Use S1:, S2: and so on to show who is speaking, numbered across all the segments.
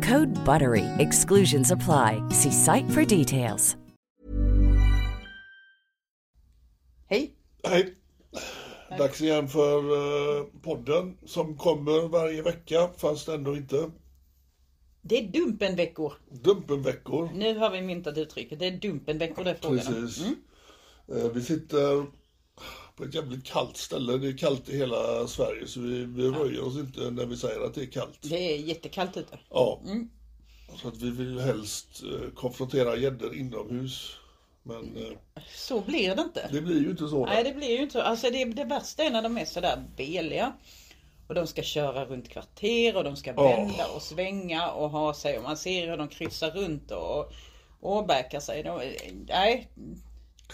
S1: Code BUTTERY. Exclusions apply. See site for details.
S2: Hej.
S3: Hej. Dags igen för eh, podden som kommer varje vecka fast ändå inte.
S2: Det är dumpenveckor.
S3: Dumpenveckor.
S2: Nu har vi myntat uttrycket. Det är dumpenveckor det är frågan om.
S3: Precis. Eh, Vi sitter på ett jävligt kallt ställe. Det är kallt i hela Sverige så vi, vi röjer oss inte när vi säger att det är kallt.
S2: Det är jättekallt ute.
S3: Ja.
S2: Mm.
S3: Så att vi vill helst eh, konfrontera gäddor inomhus. Men eh,
S2: Så blir det inte.
S3: det blir ju inte så.
S2: Nej, det blir ju inte så. Alltså det, det värsta är när de är sådär beliga. Och de ska köra runt kvarter och de ska
S3: Åh.
S2: vända och svänga och ha sig. Och man ser hur de kryssar runt och och åbäkar sig. De, nej,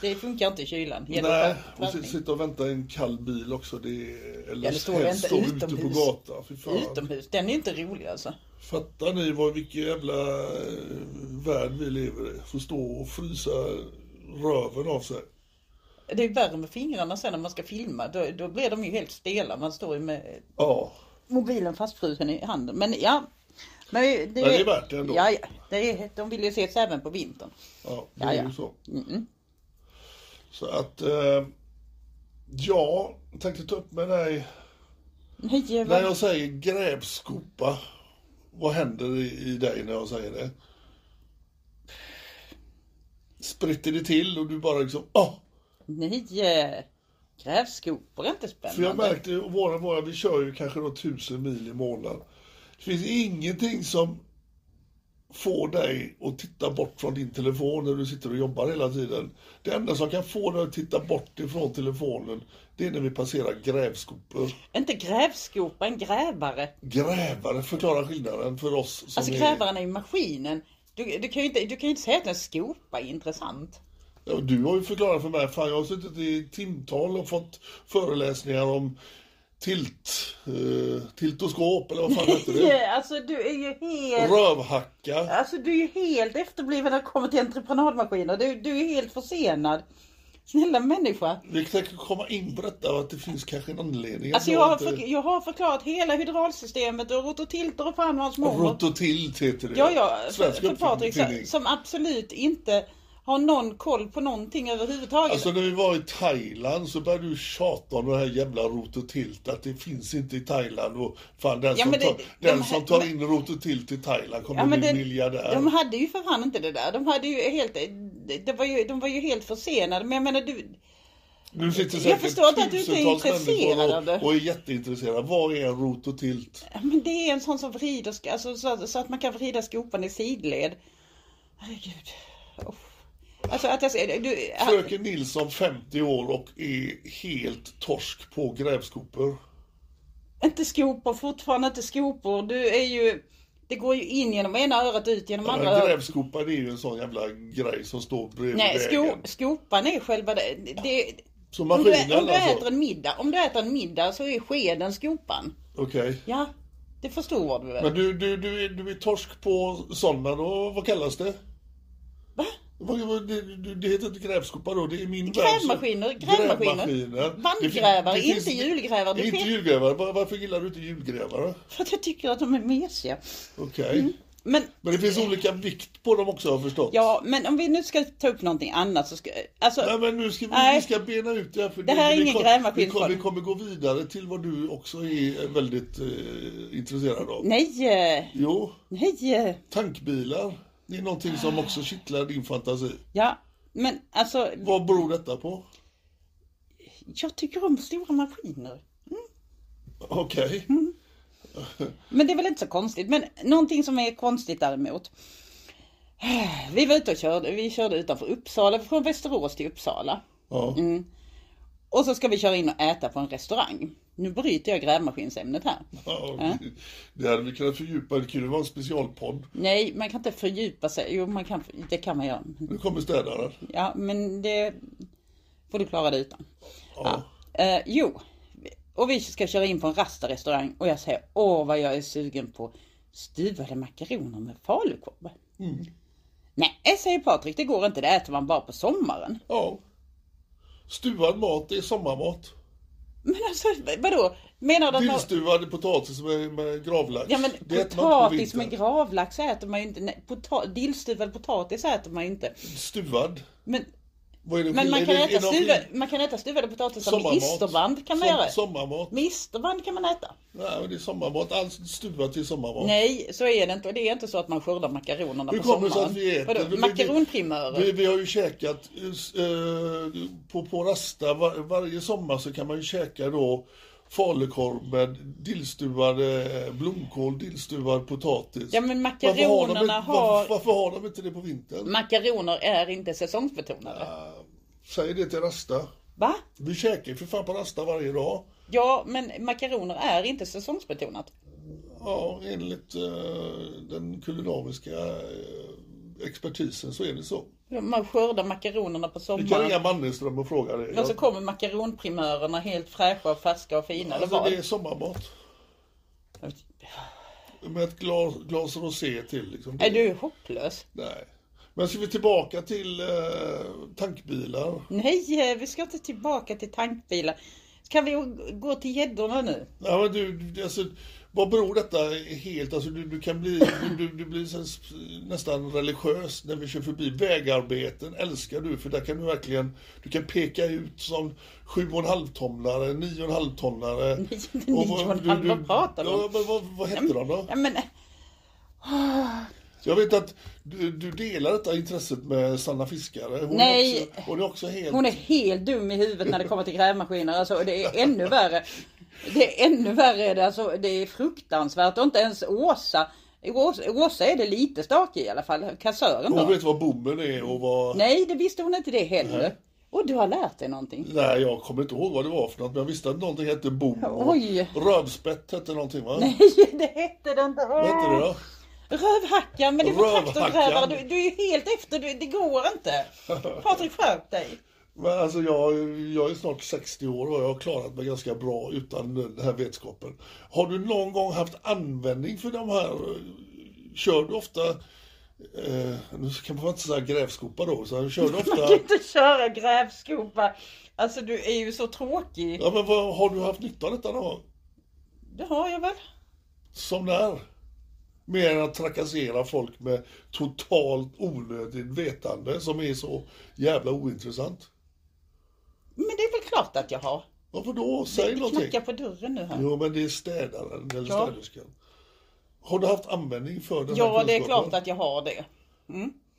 S2: det funkar inte i kylan. Genom
S3: Nej, och
S2: skärpning.
S3: si- sitta och vänta i en kall bil också. Det är, eller
S2: Ja, det står
S3: helst stå
S2: vänta
S3: ute på
S2: utomhus.
S3: gatan. Fy fan.
S2: Utomhus, den är inte rolig alltså.
S3: Fattar ni vad, vilken jävla eh, värld vi lever i? Får stå och frysa röven av sig.
S2: Det är värre med fingrarna sen när man ska filma. Då, då blir de ju helt stela. Man står ju med
S3: Ja,
S2: mobilen fastfrusen i handen. Men ja. Men det,
S3: Men det är värt det ändå.
S2: Ja, ja. Det är, de vill ju ses även på vintern.
S3: ja det
S2: Ja,
S3: är
S2: ja.
S3: ju så. Så att, eh, ja, jag tänkte ta upp med dig.
S2: Nej,
S3: När
S2: vad-
S3: jag säger grävskopa, vad händer i, i dig när jag säger det? Spritter det till och du bara liksom, åh!
S2: nej. eh, Grävskopor är inte
S3: För jag
S2: spännande.
S3: märkte ju, våra, våra, vi kör ju kanske då tusen mil i månaden. Det finns ingenting som får dig att titta bort från din telefon när du sitter och jobbar hela tiden. Det enda som kan få dig att titta bort ifrån telefonen, det är när vi passerar grävskopor.
S2: Inte grävskopa, en grävare.
S3: Grävare, förklara skillnaden för oss som
S2: Alltså
S3: är...
S2: grävaren är ju maskinen. Du, du, kan ju inte, du kan ju inte säga att en skopa är intressant.
S3: Ja, Du har ju förklarat för mig, fan jag har suttit i timtal och fått föreläsningar om tilt, eh, tiltoskop eller vad fan heter det?
S2: Ja, Alltså du är ju helt...
S3: Rövhacka.
S2: Alltså du är ju helt efterbliven när det kommer till entreprenadmaskiner. Du, du är helt försenad. Snälla människa.
S3: Vi tänker komma in på detta och att det finns kanske en anledning.
S2: Alltså
S3: att
S2: jag har,
S3: inte-
S2: förk- jag har förklarat hela hydraulsystemet och rototilter och fan hans mormor.
S3: Rototilt heter det.
S2: Ja, ja, för,
S3: Svensk
S2: för Patrik som,
S3: uppfinning.
S2: som absolut inte har någon koll på någonting överhuvudtaget.
S3: Alltså när vi var i Thailand så började du tjata om den här jävla rototilt. Att det finns inte i Thailand. Och fan den,
S2: Ja,
S3: som,
S2: men det-
S3: tar,
S2: de
S3: den
S2: här-
S3: som tar
S2: men-
S3: in rototilt i Thailand kommer
S2: Ja, men
S3: bli
S2: det-
S3: miljardär.
S2: De hade ju för fan inte det där. De, hade ju helt, det var ju, de var ju helt försenade. Men jag menar du,
S3: nu sitter
S2: jag
S3: säkert
S2: förstår inte att du inte är
S3: tusentals människor
S2: intresserad av det.
S3: och, och är jätteintresserade. Vad är en rototilt?
S2: Ja, Men det är en sån som vrider, sk- alltså, så, så att man kan vrida skopan i sidled. Herregud. Oh. Alltså att jag ser, du,
S3: Fröken Nilsson 50 år och är helt torsk på grävskopor.
S2: inte skopor, fortfarande inte skopor. Du är ju, det går ju in genom ena örat, ut genom
S3: Ja,
S2: andra
S3: men
S2: örat.
S3: grävskopan är ju en sån jävla grej som står bredvid
S2: Nej, sko,
S3: vägen.
S2: skopan är själva det. det
S3: Så
S2: om du,
S3: maskinen
S2: ä- om, du
S3: alltså?
S2: äter en middag, om du äter en middag så är skeden skopan.
S3: Okej.
S2: Ja, Det förstod du väl?
S3: Men du, du, du, är, du är torsk på sådana då, vad kallas det?
S2: Va?
S3: Vad- vad- Det, det- det heter inte grävskopa då, det är min
S2: Grävmaskiner,
S3: värld.
S2: grävmaskiner.
S3: Grävmaskiner.
S2: Bandgrävare,
S3: Det fin-
S2: inte
S3: det
S2: julgrävare. Du
S3: Inte
S2: vet-
S3: julgrävare, Var- varför gillar du inte julgrävare?
S2: För att jag tycker att de är mesiga.
S3: Okej.
S2: Men,
S3: Men det finns olika vikt på dem också har jag förstått.
S2: Mm. ja, men om vi nu ska ta upp någonting annat så ska... Alltså,
S3: Nej men nu ska vi,
S2: Nej.
S3: vi ska bena ut det här. För
S2: Det här är
S3: vi
S2: ingen
S3: kom-
S2: grävmaskin
S3: Vi, kom,
S2: för-
S3: vi kommer gå vidare till vad du också är väldigt eh, intresserad av.
S2: nej, eh,
S3: Jo,
S2: nej. eh.
S3: tankbilar. Det är någonting som också kittlar din fantasi.
S2: Ja, men alltså,
S3: Vad beror detta på?
S2: jag tycker om stora maskiner.
S3: Okej.
S2: Men det är väl inte så konstigt. Men någonting som är konstigt däremot. Vi var ute och körde, vi körde utanför Uppsala, från Västerås till Uppsala.
S3: Ja.
S2: Mm. Och så ska vi köra in och äta på en restaurang. Nu bryter jag grävmaskinsämnet här.
S3: Ja, det- Det hade vi kunnat fördjupa. Det kunde vara en specialpodd.
S2: Nej, man kan inte fördjupa sig. Jo, man kan, det kan man göra.
S3: Nu kommer städaren.
S2: Ja, men det får du klara dig utan.
S3: Ja.
S2: Eh, jo, och vi ska köra in på en rastarestaurang och jag säger åh vad jag är sugen på stuvade makaroner med falukorv.
S3: Mm.
S2: Nej, säger Patrik, det går inte, det äter man bara på sommaren.
S3: ja. Stuvad mat, det är sommarmat.
S2: Men alltså vadå, menar du att man...
S3: Dillstuvad potatis med, med gravlax.
S2: Ja men
S3: det äter man inte på
S2: potatis med
S3: vintern.
S2: gravlax äter man ju inte, nej, pota- dillstuvad potatis äter man ju inte.
S3: Stuvad.
S2: Men,
S3: Vad är det
S2: men man,
S3: är
S2: kan
S3: det-
S2: äta
S3: är det-
S2: stuvad, man kan äta stuvade potatisar med
S3: Sommarmat.
S2: isterband kan man
S3: Som-
S2: göra.
S3: Sommarmat.
S2: Med isterband kan man äta.
S3: Nej, men det är sommarmat. Allt stuvat till sommarmat.
S2: Nej, så är det inte. Och det är inte så att man skördar makaronerna
S3: Hur
S2: på
S3: kommer
S2: sommaren.
S3: det sig att vi äter?
S2: Vadå,
S3: Vi- vi-
S2: makaronprimörer?
S3: Vi, vi har ju käkat eh, på, på rasta var, varje sommar så kan man ju käka då falukorv med dillstuvad eh, blomkål, dillstuvad potatis.
S2: Ja, men
S3: Varför har de
S2: makaronerna
S3: inte-
S2: har-
S3: Varför, varför har de inte det på vintern?
S2: Makaroner är inte säsongsbetonade.
S3: Säg det till rasta.
S2: Va?
S3: Vi käkar ju för fan på rasta varje dag.
S2: Ja, men makaroner är inte säsongsbetonat.
S3: Ja, enligt eh, den kulinariska eh, expertisen så är det så.
S2: Man skördar makaronerna på
S3: Vi kan
S2: sommaren.
S3: ringa Mannerström och fråga det.
S2: Men så kommer makaronprimörerna helt fräscha, färska och fina. eller
S3: Alltså,
S2: vad?
S3: det är sommarmat. Med ett glas, glas rosé till. Liksom.
S2: Är du hopplös?
S3: Nej. Men ska vi tillbaka till eh, tankbilar?
S2: Nej, eh, vi ska inte tillbaka till tankbilar. Kan vi gå till gäddorna nu?
S3: Ja, men du, du- alltså, vad beror detta helt? Alltså, du, du kan bli, du, du, du blir sen sp- nästan religiös när vi kör förbi. Vägarbeten älskar du, för där kan du verkligen du kan peka ut som sju och en halv tonlare, nio och en halv tonlare.
S2: Nio och en halv, vad pratar du om?
S3: ja, men vad, vad heter de då?
S2: Ja, men,
S3: Jag vet att du, du delar detta intresset med Sanna Fiskare. Hon
S2: Nej.
S3: Är också, hon är också helt...
S2: Hon är helt dum i huvudet när det kommer till grävmaskiner. Alltså, och det är ännu värre. Det är ännu värre. är det. Alltså, det är fruktansvärt. Och inte ens Åsa. Åsa, Åsa är det lite stakig i alla fall. Kassören
S3: Hon
S2: då.
S3: vet vad bommen är och vad... Nej.
S2: Nej, det visste hon inte det heller. Och du har lärt dig
S3: Mm.
S2: någonting.
S3: jag kommer inte ihåg vad det var för något, men jag visste att någonting hette bom. och
S2: Oj.
S3: Rövspett hette någonting va?
S2: Nej, det hette den inte.
S3: Vad hette det då?
S2: Rövhackan. Men det är för
S3: Rövhackan.
S2: traktorgrävare. Du, du är ju helt efter. Du, det går inte. Patrik, skärp dig.
S3: Men alltså jag, jag är snart 60 år och jag har klarat mig ganska bra utan den här vetskapen. Har du någon gång haft användning för de här? Kör du ofta... Eh, nu kan man inte säga grävskopa då, så kör du
S2: Du kan
S3: ofta...
S2: inte köra grävskopa. Alltså du är ju så tråkig.
S3: Ja men vad, har du haft nytta av detta någon gång?
S2: Det har jag väl.
S3: Som där. Mer än att trakassera folk med totalt onödigt vetande som är så jävla ointressant.
S2: Men det är väl klart att jag har.
S3: Varför då? Säg
S2: Det knackar
S3: någonting.
S2: på dörren nu här.
S3: Jo men det är städaren eller
S2: Ja.
S3: städerskan. Har du haft användning för den
S2: Ja,
S3: här
S2: det är klart
S3: kunskapen?
S2: att jag har det.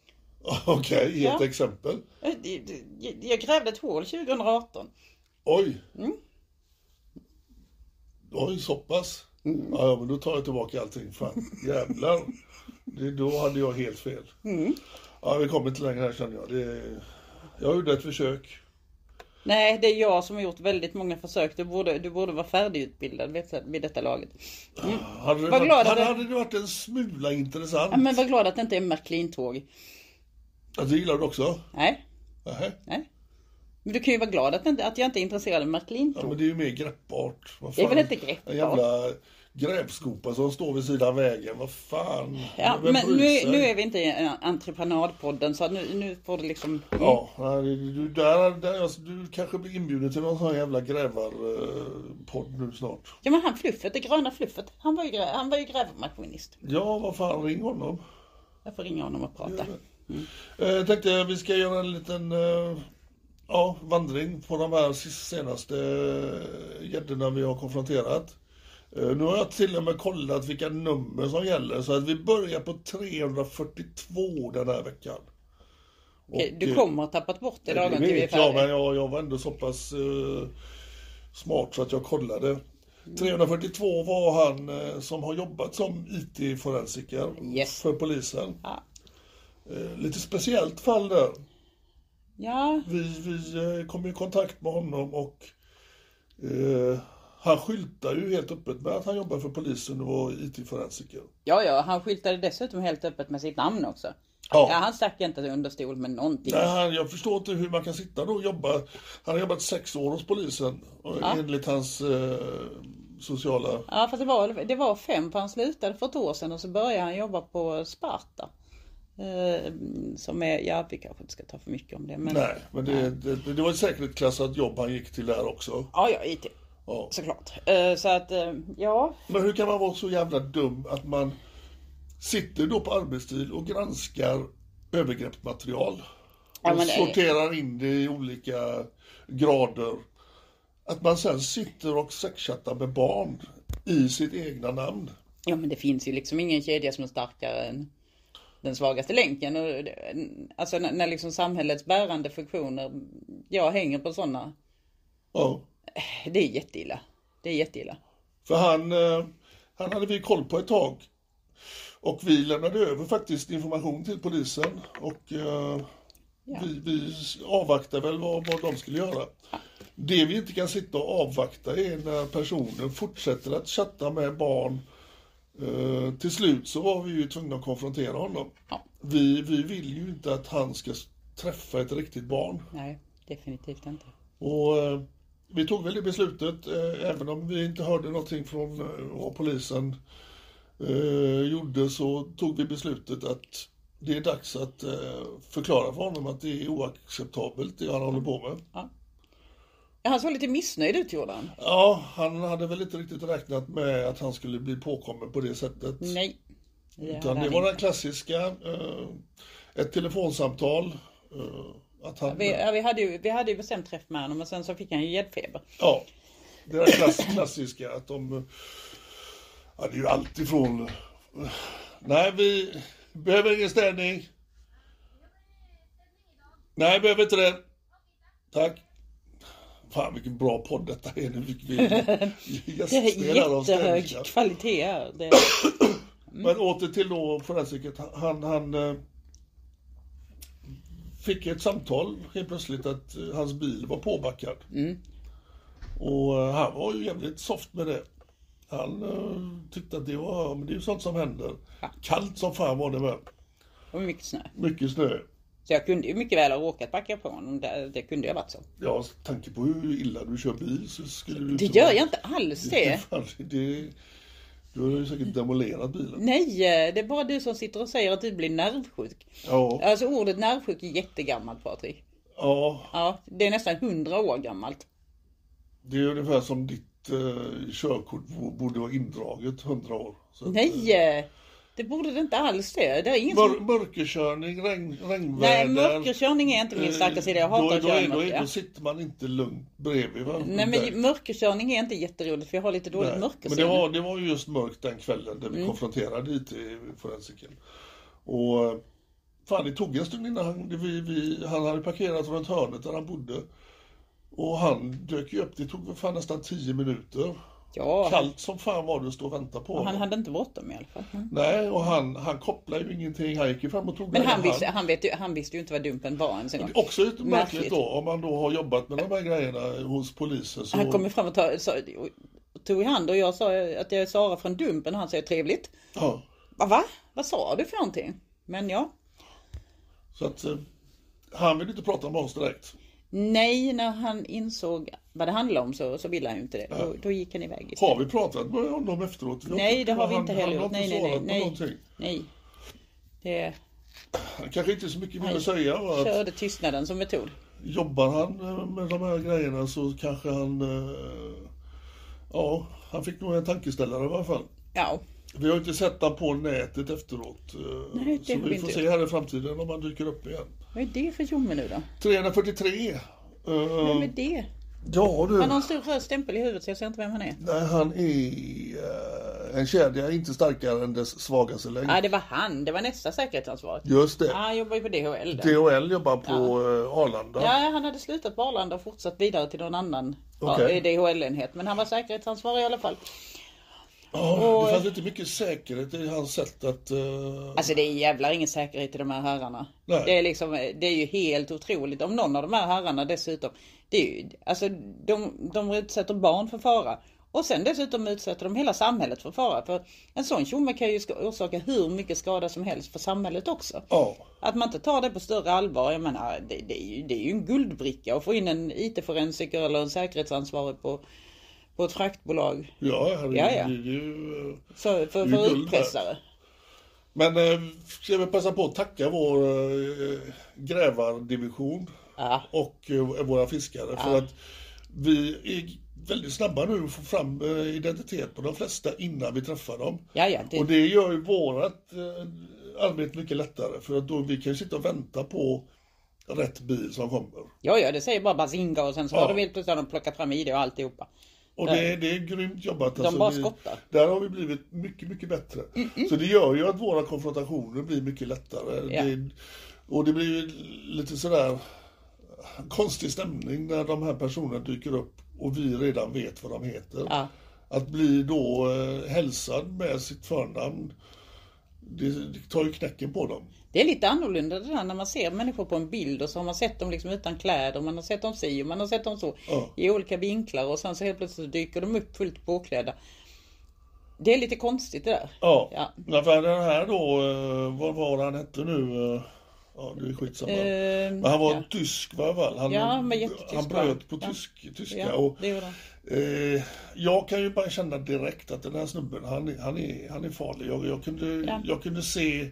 S3: Okej, ge ett
S2: Ja.
S3: exempel.
S2: Eh, Jag- Jag grävde ett hål 2018.
S3: Oj.
S2: Mm.
S3: Oj, så pass.
S2: Mm.
S3: Ja, ja, men då tar jag tillbaka allting. Fan, jävlar. Det, då hade jag helt fel.
S2: Mm.
S3: Ja, vi kommer inte längre här känner jag. Det, jag gjorde ett försök.
S2: Nej, det är jag som har gjort väldigt många försök. Du borde, du borde vara färdigutbildad vet, du, vid detta laget.
S3: Hade det,
S2: Vad
S3: varit,
S2: glad att
S3: hade,
S2: jag-
S3: hade det varit en smula intressant.
S2: Ja, men var glad att det inte är Märklintåg.
S3: Ja, det gillar du också?
S2: Nej,
S3: Nähä.
S2: nej. Men du kan ju vara glad att, inte, att jag inte är intresserad av
S3: Ja, men
S2: Märklintåg.
S3: det är ju mer greppbart. Vad
S2: Det är
S3: fan,
S2: väl inte greppbart?
S3: En jävla grävskopa som står vid sidan av vägen. Vad fan?
S2: Ja,
S3: Vem
S2: men
S3: bryr
S2: nu,
S3: sig?
S2: är- nu är vi inte i en entreprenadpodden så nu, nu får det liksom...
S3: Ja, nej, du, där, där, alltså, du kanske blir inbjuden till någon sån här jävla grävarpodd eh, nu snart.
S2: Ja men han fluffet, det gröna fluffet, han var ju, grä, han var ju grävmaskinist.
S3: Ja, vad fan, ring honom.
S2: Jag får ringa honom och prata.
S3: Eh, Jag tänkte att vi ska göra en liten eh, ja, vandring på de här sis- senaste eh, gäddorna vi har konfronterat. Eh, Nu har jag till och med kollat vilka nummer som gäller så att vi börjar på 342 den här veckan.
S2: Okej, du
S3: Och, eh,
S2: kommer att tappat bort det
S3: Det
S2: lagom till vi är
S3: vet jag, men
S2: färdiga.
S3: jag, jag var ändå så pass eh, smart så att jag kollade.
S2: Mm.
S3: 342 var han eh, som har jobbat som IT-forensiker
S2: Yes.
S3: för polisen.
S2: Ja.
S3: Eh, lite speciellt fall där.
S2: Ja,
S3: Vi, vi eh, kom i kontakt med honom och eh, han skyltar ju helt öppet med att han jobbar för polisen och var IT-forensiker.
S2: ja, ja, han skyltade dessutom helt öppet med sitt namn också.
S3: Ja.
S2: Ja, han stack inte under stol med någonting.
S3: Nej, han, jag förstår inte hur man kan sitta då och jobba. Han har jobbat sex år hos polisen och enligt hans eh, sociala...
S2: Ja, fast det var, det var fem, för han slutade för ett år sedan och så började han jobba på Sparta. Eh, som är, ja vi kanske inte ska ta för mycket om det men...
S3: Nej, men det, det, det var ett säkerhetsklassat jobb han gick till där också.
S2: Ja, ja, IT.
S3: Ja.
S2: Såklart. Eh, så att, eh, ja.
S3: Men hur kan man vara så jävla dum att man sitter då på arbetstid och granskar övergreppsmaterial?
S2: Ja,
S3: och
S2: men det-
S3: sorterar in det i olika grader. Att man sen sitter och sexchattar med barn i sitt egna namn.
S2: ja, men det finns ju liksom ingen kedja som är starkare än den svagaste länken. Och det, alltså när, när liksom samhällets bärande funktioner, jag hänger på sådana.
S3: Ja.
S2: Det är jätteilla. Det är jätteilla.
S3: För han, eh, han hade vi koll på ett tag. Och vi lämnade över faktiskt information till polisen och eh, vi, vi avvaktade väl vad, vad de skulle göra. Det vi inte kan sitta och avvakta är när personen fortsätter att chatta med barn. Eh, till slut så var vi ju tvungna att konfrontera honom.
S2: Ja.
S3: Vi, vi vill ju inte att han ska s- träffa ett riktigt barn.
S2: Nej, definitivt inte.
S3: Och eh, vi tog väl det beslutet, eh, även om vi inte hörde någonting från eh, vad polisen eh, gjorde, så tog vi beslutet att det är dags att eh, förklara för honom att det är oacceptabelt det han håller på med.
S2: Ja, han såg lite missnöjd ut gjorde han.
S3: Ja, han hade väl inte riktigt räknat med att han skulle bli påkommen på det sättet.
S2: Nej. Det
S3: Utan
S2: hade
S3: det
S2: han
S3: var
S2: inte.
S3: den klassiska, eh, ett telefonsamtal. Eh, att han,
S2: Vi, ja, vi, hade ju, vi hade ju bestämt träff med honom och sen så fick han ju gäddfeber.
S3: Ja, det där klass, klassiska att de... Ja, det är ju alltid från... Nej, vi behöver ingen städning. Nej, behöver inte det. Tack. Fan vilken bra podd detta är. Nu fick vi
S2: Det är
S3: gästspelare av
S2: jättehög
S3: städningar.
S2: kvalitet här. Det, Mm.
S3: Men åter till då forensiket. Han, han eh, fick ett samtal helt plötsligt att eh, hans bil var påbackad.
S2: Mm.
S3: Och eh, han var ju jävligt soft med det. Han eh, tyckte att det var, ja, men det är ju sånt som händer. Kallt som fan var det med.
S2: det var mycket snö.
S3: Mycket snö.
S2: Så jag kunde ju mycket väl ha råkat backa på honom. Det, det kunde ju ha varit så.
S3: Ja, s- tanke på hur illa du kör bil så skulle du
S2: Det
S3: inte
S2: gör
S3: vara-
S2: jag inte alls det.
S3: Fan, det, du har ju säkert demolerat bilen.
S2: Nej, eh, det är bara du som sitter och säger att du blir nervsjuk.
S3: Ja,
S2: Alltså ordet nervsjuk är jättegammalt Patrik.
S3: ja,
S2: Ja, det är nästan hundra år gammalt.
S3: Det är ungefär som ditt eh, körkort bo- borde vara indraget 100 år. Så att, eh,
S2: Nej, eh, det borde det inte alls det. Det är ingen
S3: Mör
S2: som...
S3: mörkerkörning, regn, regnväder.
S2: Nej, mörkerkörning är inte min starka sida. Jag
S3: då,
S2: hatar
S3: då,
S2: att
S3: Eh, då,
S2: köra i
S3: då, då,
S2: mörker.
S3: sitter man inte lugnt bredvid va?
S2: Nej
S3: Där.
S2: men mörkerkörning är inte jätteroligt för jag har lite dåligt
S3: Nej. Men
S2: mörkersinne.
S3: det var, det var ju just mörkt den kvällen där vi
S2: Mm.
S3: konfronterade IT-forensiken. Och eh, fan det tog en stund innan han, det vi, vi, han hade parkerat runt hörnet där han bodde. Och han dök ju upp, det tog väl fan nästan 10 minuter.
S2: Ja,
S3: Kallt som fan var det att stå och vänta på
S2: han
S3: honom.
S2: hade inte bråttom i alla fall. Mm.
S3: Nej, och han, han kopplar ju ingenting. Han gick ju fram och tog
S2: Men
S3: den i
S2: han
S3: hand.
S2: visste, han, vet ju, han visste ju inte vad dumpen var ens en gång.
S3: Också lite märkligt
S2: Märkligt.
S3: då, om man då har jobbat med de här grejerna hos polisen. Så...
S2: Han kom ju fram och tog, sa, och tog i hand och jag sa att jag är Sara från Dumpen och han säger trevligt.
S3: ja,
S2: Va, va? Vad sa du för någonting? Men ja.
S3: så att eh, han vill inte prata med oss direkt.
S2: Nej, när han insåg vad det handlade om så, så ville han ju inte det. Då, då gick han iväg istället.
S3: Har vi pratat med honom efteråt? Jag
S2: Nej,
S3: tycker
S2: det har vi
S3: han-
S2: inte heller
S3: Han har
S2: gjort.
S3: inte
S2: Nej, nej,
S3: svarat på
S2: nej. Nej.
S3: någonting.
S2: nej. Det
S3: Han kanske inte så mycket mer
S2: Nej.
S3: att säga. va, Att
S2: körde tystnaden som metod.
S3: jobbar han eh, med de här grejerna så kanske han... eh, Ja, han fick nog en tankeställare i alla fall.
S2: Ja,
S3: Vi har ju inte sett han på nätet efteråt. eh,
S2: Nej, det
S3: så
S2: har vi
S3: vi får
S2: inte
S3: se här i framtiden om han dyker upp igen.
S2: vad är det för tjomme nu då?
S3: 343. eh,
S2: Vem är det?
S3: Ja du.
S2: Han har en stor röd stämpel i huvudet så jag ser inte vem han är.
S3: Nej, han är eh, en kedja, inte starkare än dess svagaste länk.
S2: Ja, det var han. Det var nästa säkerhetsansvarig.
S3: Just det.
S2: Ja, han jobbar ju på DHL. Där.
S3: DHL jobbar på eh, Arlanda.
S2: Ja, han hade slutat på Arlanda och fortsatt vidare till någon annan
S3: Okej.
S2: ja, DHL-enhet. Men han var säkerhetsansvarig i alla fall.
S3: Ja, det fanns inte mycket säkerhet i hans sätt att... eh,
S2: Alltså det är jävlar ingen säkerhet i de här herrarna.
S3: Nej.
S2: Det är, liksom, det är ju helt otroligt. Om någon av de här herrarna dessutom. Det är ju, alltså de, de utsätter barn för fara. Och sen dessutom utsätter de hela samhället för fara. För en sån tjomme kan ju ska- orsaka hur mycket skada som helst för samhället också.
S3: Ja.
S2: Att man inte tar det på större allvar. Jag menar, det, det, är, ju, det är ju en guldbricka att få in en IT-forensiker eller en säkerhetsansvarig på, på ett fraktbolag.
S3: Ja, herregud.
S2: Ja, ja.
S3: det är ju, eh,
S2: För, för,
S3: Det
S2: för
S3: är guld värt.
S2: utpressare.
S3: Men eh, ska vi passa på att tacka vår eh, grävardivision
S2: Ja.
S3: och eh, våra fiskare för att vi är väldigt snabba nu att få fram eh, identitet på de flesta innan vi träffar dem.
S2: Ja, ja, det-
S3: Och det gör ju vårat eh, arbete mycket lättare för att då vi kan ju sitta och vänta på rätt bil som kommer.
S2: Ja, ja, det säger bara bazinga och sen så
S3: Ja.
S2: har de helt plötsligt har de plockat fram ID och alltihopa.
S3: Och det, det är grymt jobbat. alltså,
S2: De bara
S3: vi-
S2: skottar. Mm,
S3: Där har vi blivit mycket, mycket bättre. Så det gör ju att våra konfrontationer blir mycket lättare.
S2: Ja.
S3: Det, och det blir ju lite sådär konstig stämning när de här personerna dyker upp och vi redan vet vad de heter.
S2: Ja.
S3: Att bli då eh, hälsad med sitt förnamn, det, det tar ju knäcken på dem.
S2: Det är lite annorlunda det där när man ser människor på en bild och så har man sett dem liksom utan kläder, man har sett dem si och man har sett dem så
S3: Ja.
S2: i olika vinklar och sen så helt plötsligt så dyker de upp fullt påklädda. Det är lite konstigt det där.
S3: Ja,
S2: Ja.
S3: ja. för den här då, eh, vad var han hette nu? Eh, Ja, det är skitsamma.
S2: Eh,
S3: Men han var
S2: ja.
S3: tysk va? väl? Han,
S2: Ja, han var jättetysk,
S3: han bröt på
S2: va? Ja.
S3: tysk, tyska.
S2: Ja,
S3: och,
S2: det gjorde han.
S3: eh, jag kan ju bara känna direkt att den här snubben, han, är- han, är, han är farlig. Jag, jag, kunde,
S2: Ja.
S3: jag kunde se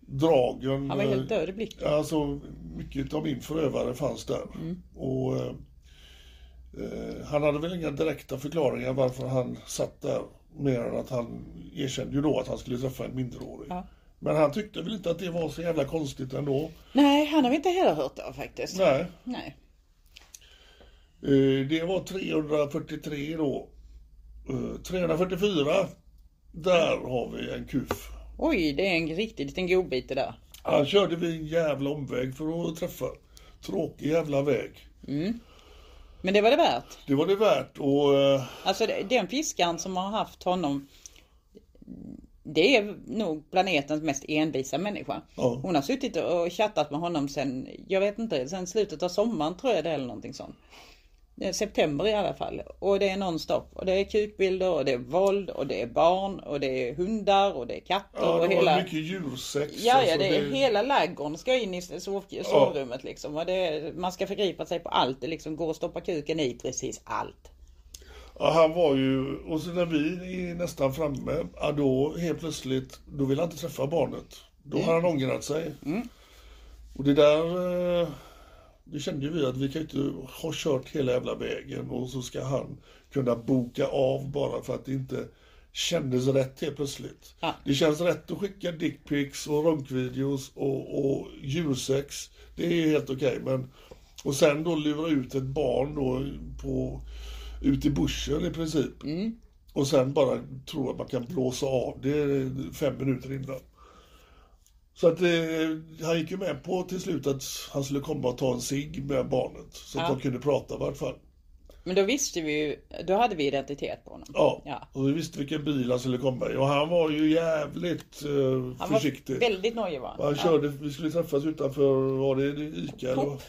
S3: dragen.
S2: Han var helt
S3: eh,
S2: död i blicken.
S3: Alltså, mycket av min förövare fanns där.
S2: Mm.
S3: Och, eh, eh, han hade väl inga direkta förklaringar varför han satt där. Mer än att han erkände ju då att han skulle träffa en minderårig.
S2: Ja.
S3: Men han tyckte väl inte att det var så jävla konstigt ändå.
S2: Nej, han har vi inte heller hört av faktiskt.
S3: Nej.
S2: Nej.
S3: Eh, Det var 343 då. Eh, 344. Där har vi en kuf.
S2: Oj, det är en riktig liten godbit det där.
S3: Han körde vi en jävla omväg för att träffa. Tråkig jävla väg.
S2: Men det var det värt.
S3: Det var det värt och eh,
S2: Alltså det- den fiskaren som har haft honom det är nog planetens mest envisa människa.
S3: Ja.
S2: Hon har suttit och chattat med honom sen, jag vet inte, sen slutet av sommaren tror jag det är eller någonting sånt. Det är September i alla fall. Och det är nonstop. Och det är kukbilder och det är våld och det är barn och det är hundar och det är katter
S3: ja,
S2: och
S3: det
S2: hela...
S3: var mycket djursex.
S2: Ja, ja,
S3: alltså,
S2: det är hela laggården ska in i sov, sovrummet liksom. Och det är, man ska förgripa sig på allt. Det liksom går att stoppa kuken i precis allt.
S3: Ja, han var ju, och så när vi är nästan framme, ja, då helt plötsligt, då vill han inte träffa barnet. Då har han ångrat sig. Och det där, eh, det kände ju vi att vi kan ju inte ha kört hela jävla vägen och så ska han kunna boka av bara för att det inte kändes rätt helt plötsligt.
S2: Ja.
S3: Det känns rätt att skicka dickpics och runkvideos och, och djursex. Det är helt okej men och sen då lura ut ett barn då på, ut i buschen i princip.
S2: Mm.
S3: Och sen bara tro att man kan blåsa av det fem minuter innan. Så att eh, han gick ju med på till slut att han skulle komma och ta en cigg med barnet. Så att de kunde prata i vart fall.
S2: Men då visste vi ju, då hade vi identitet på honom.
S3: Ja.
S2: Ja.
S3: Och vi visste vilken bil han skulle komma i. Och han var ju jävligt eh,
S2: Han
S3: försiktig.
S2: var väldigt nojig va?
S3: Han körde, vi skulle träffas utanför, var det Ica eller? vad?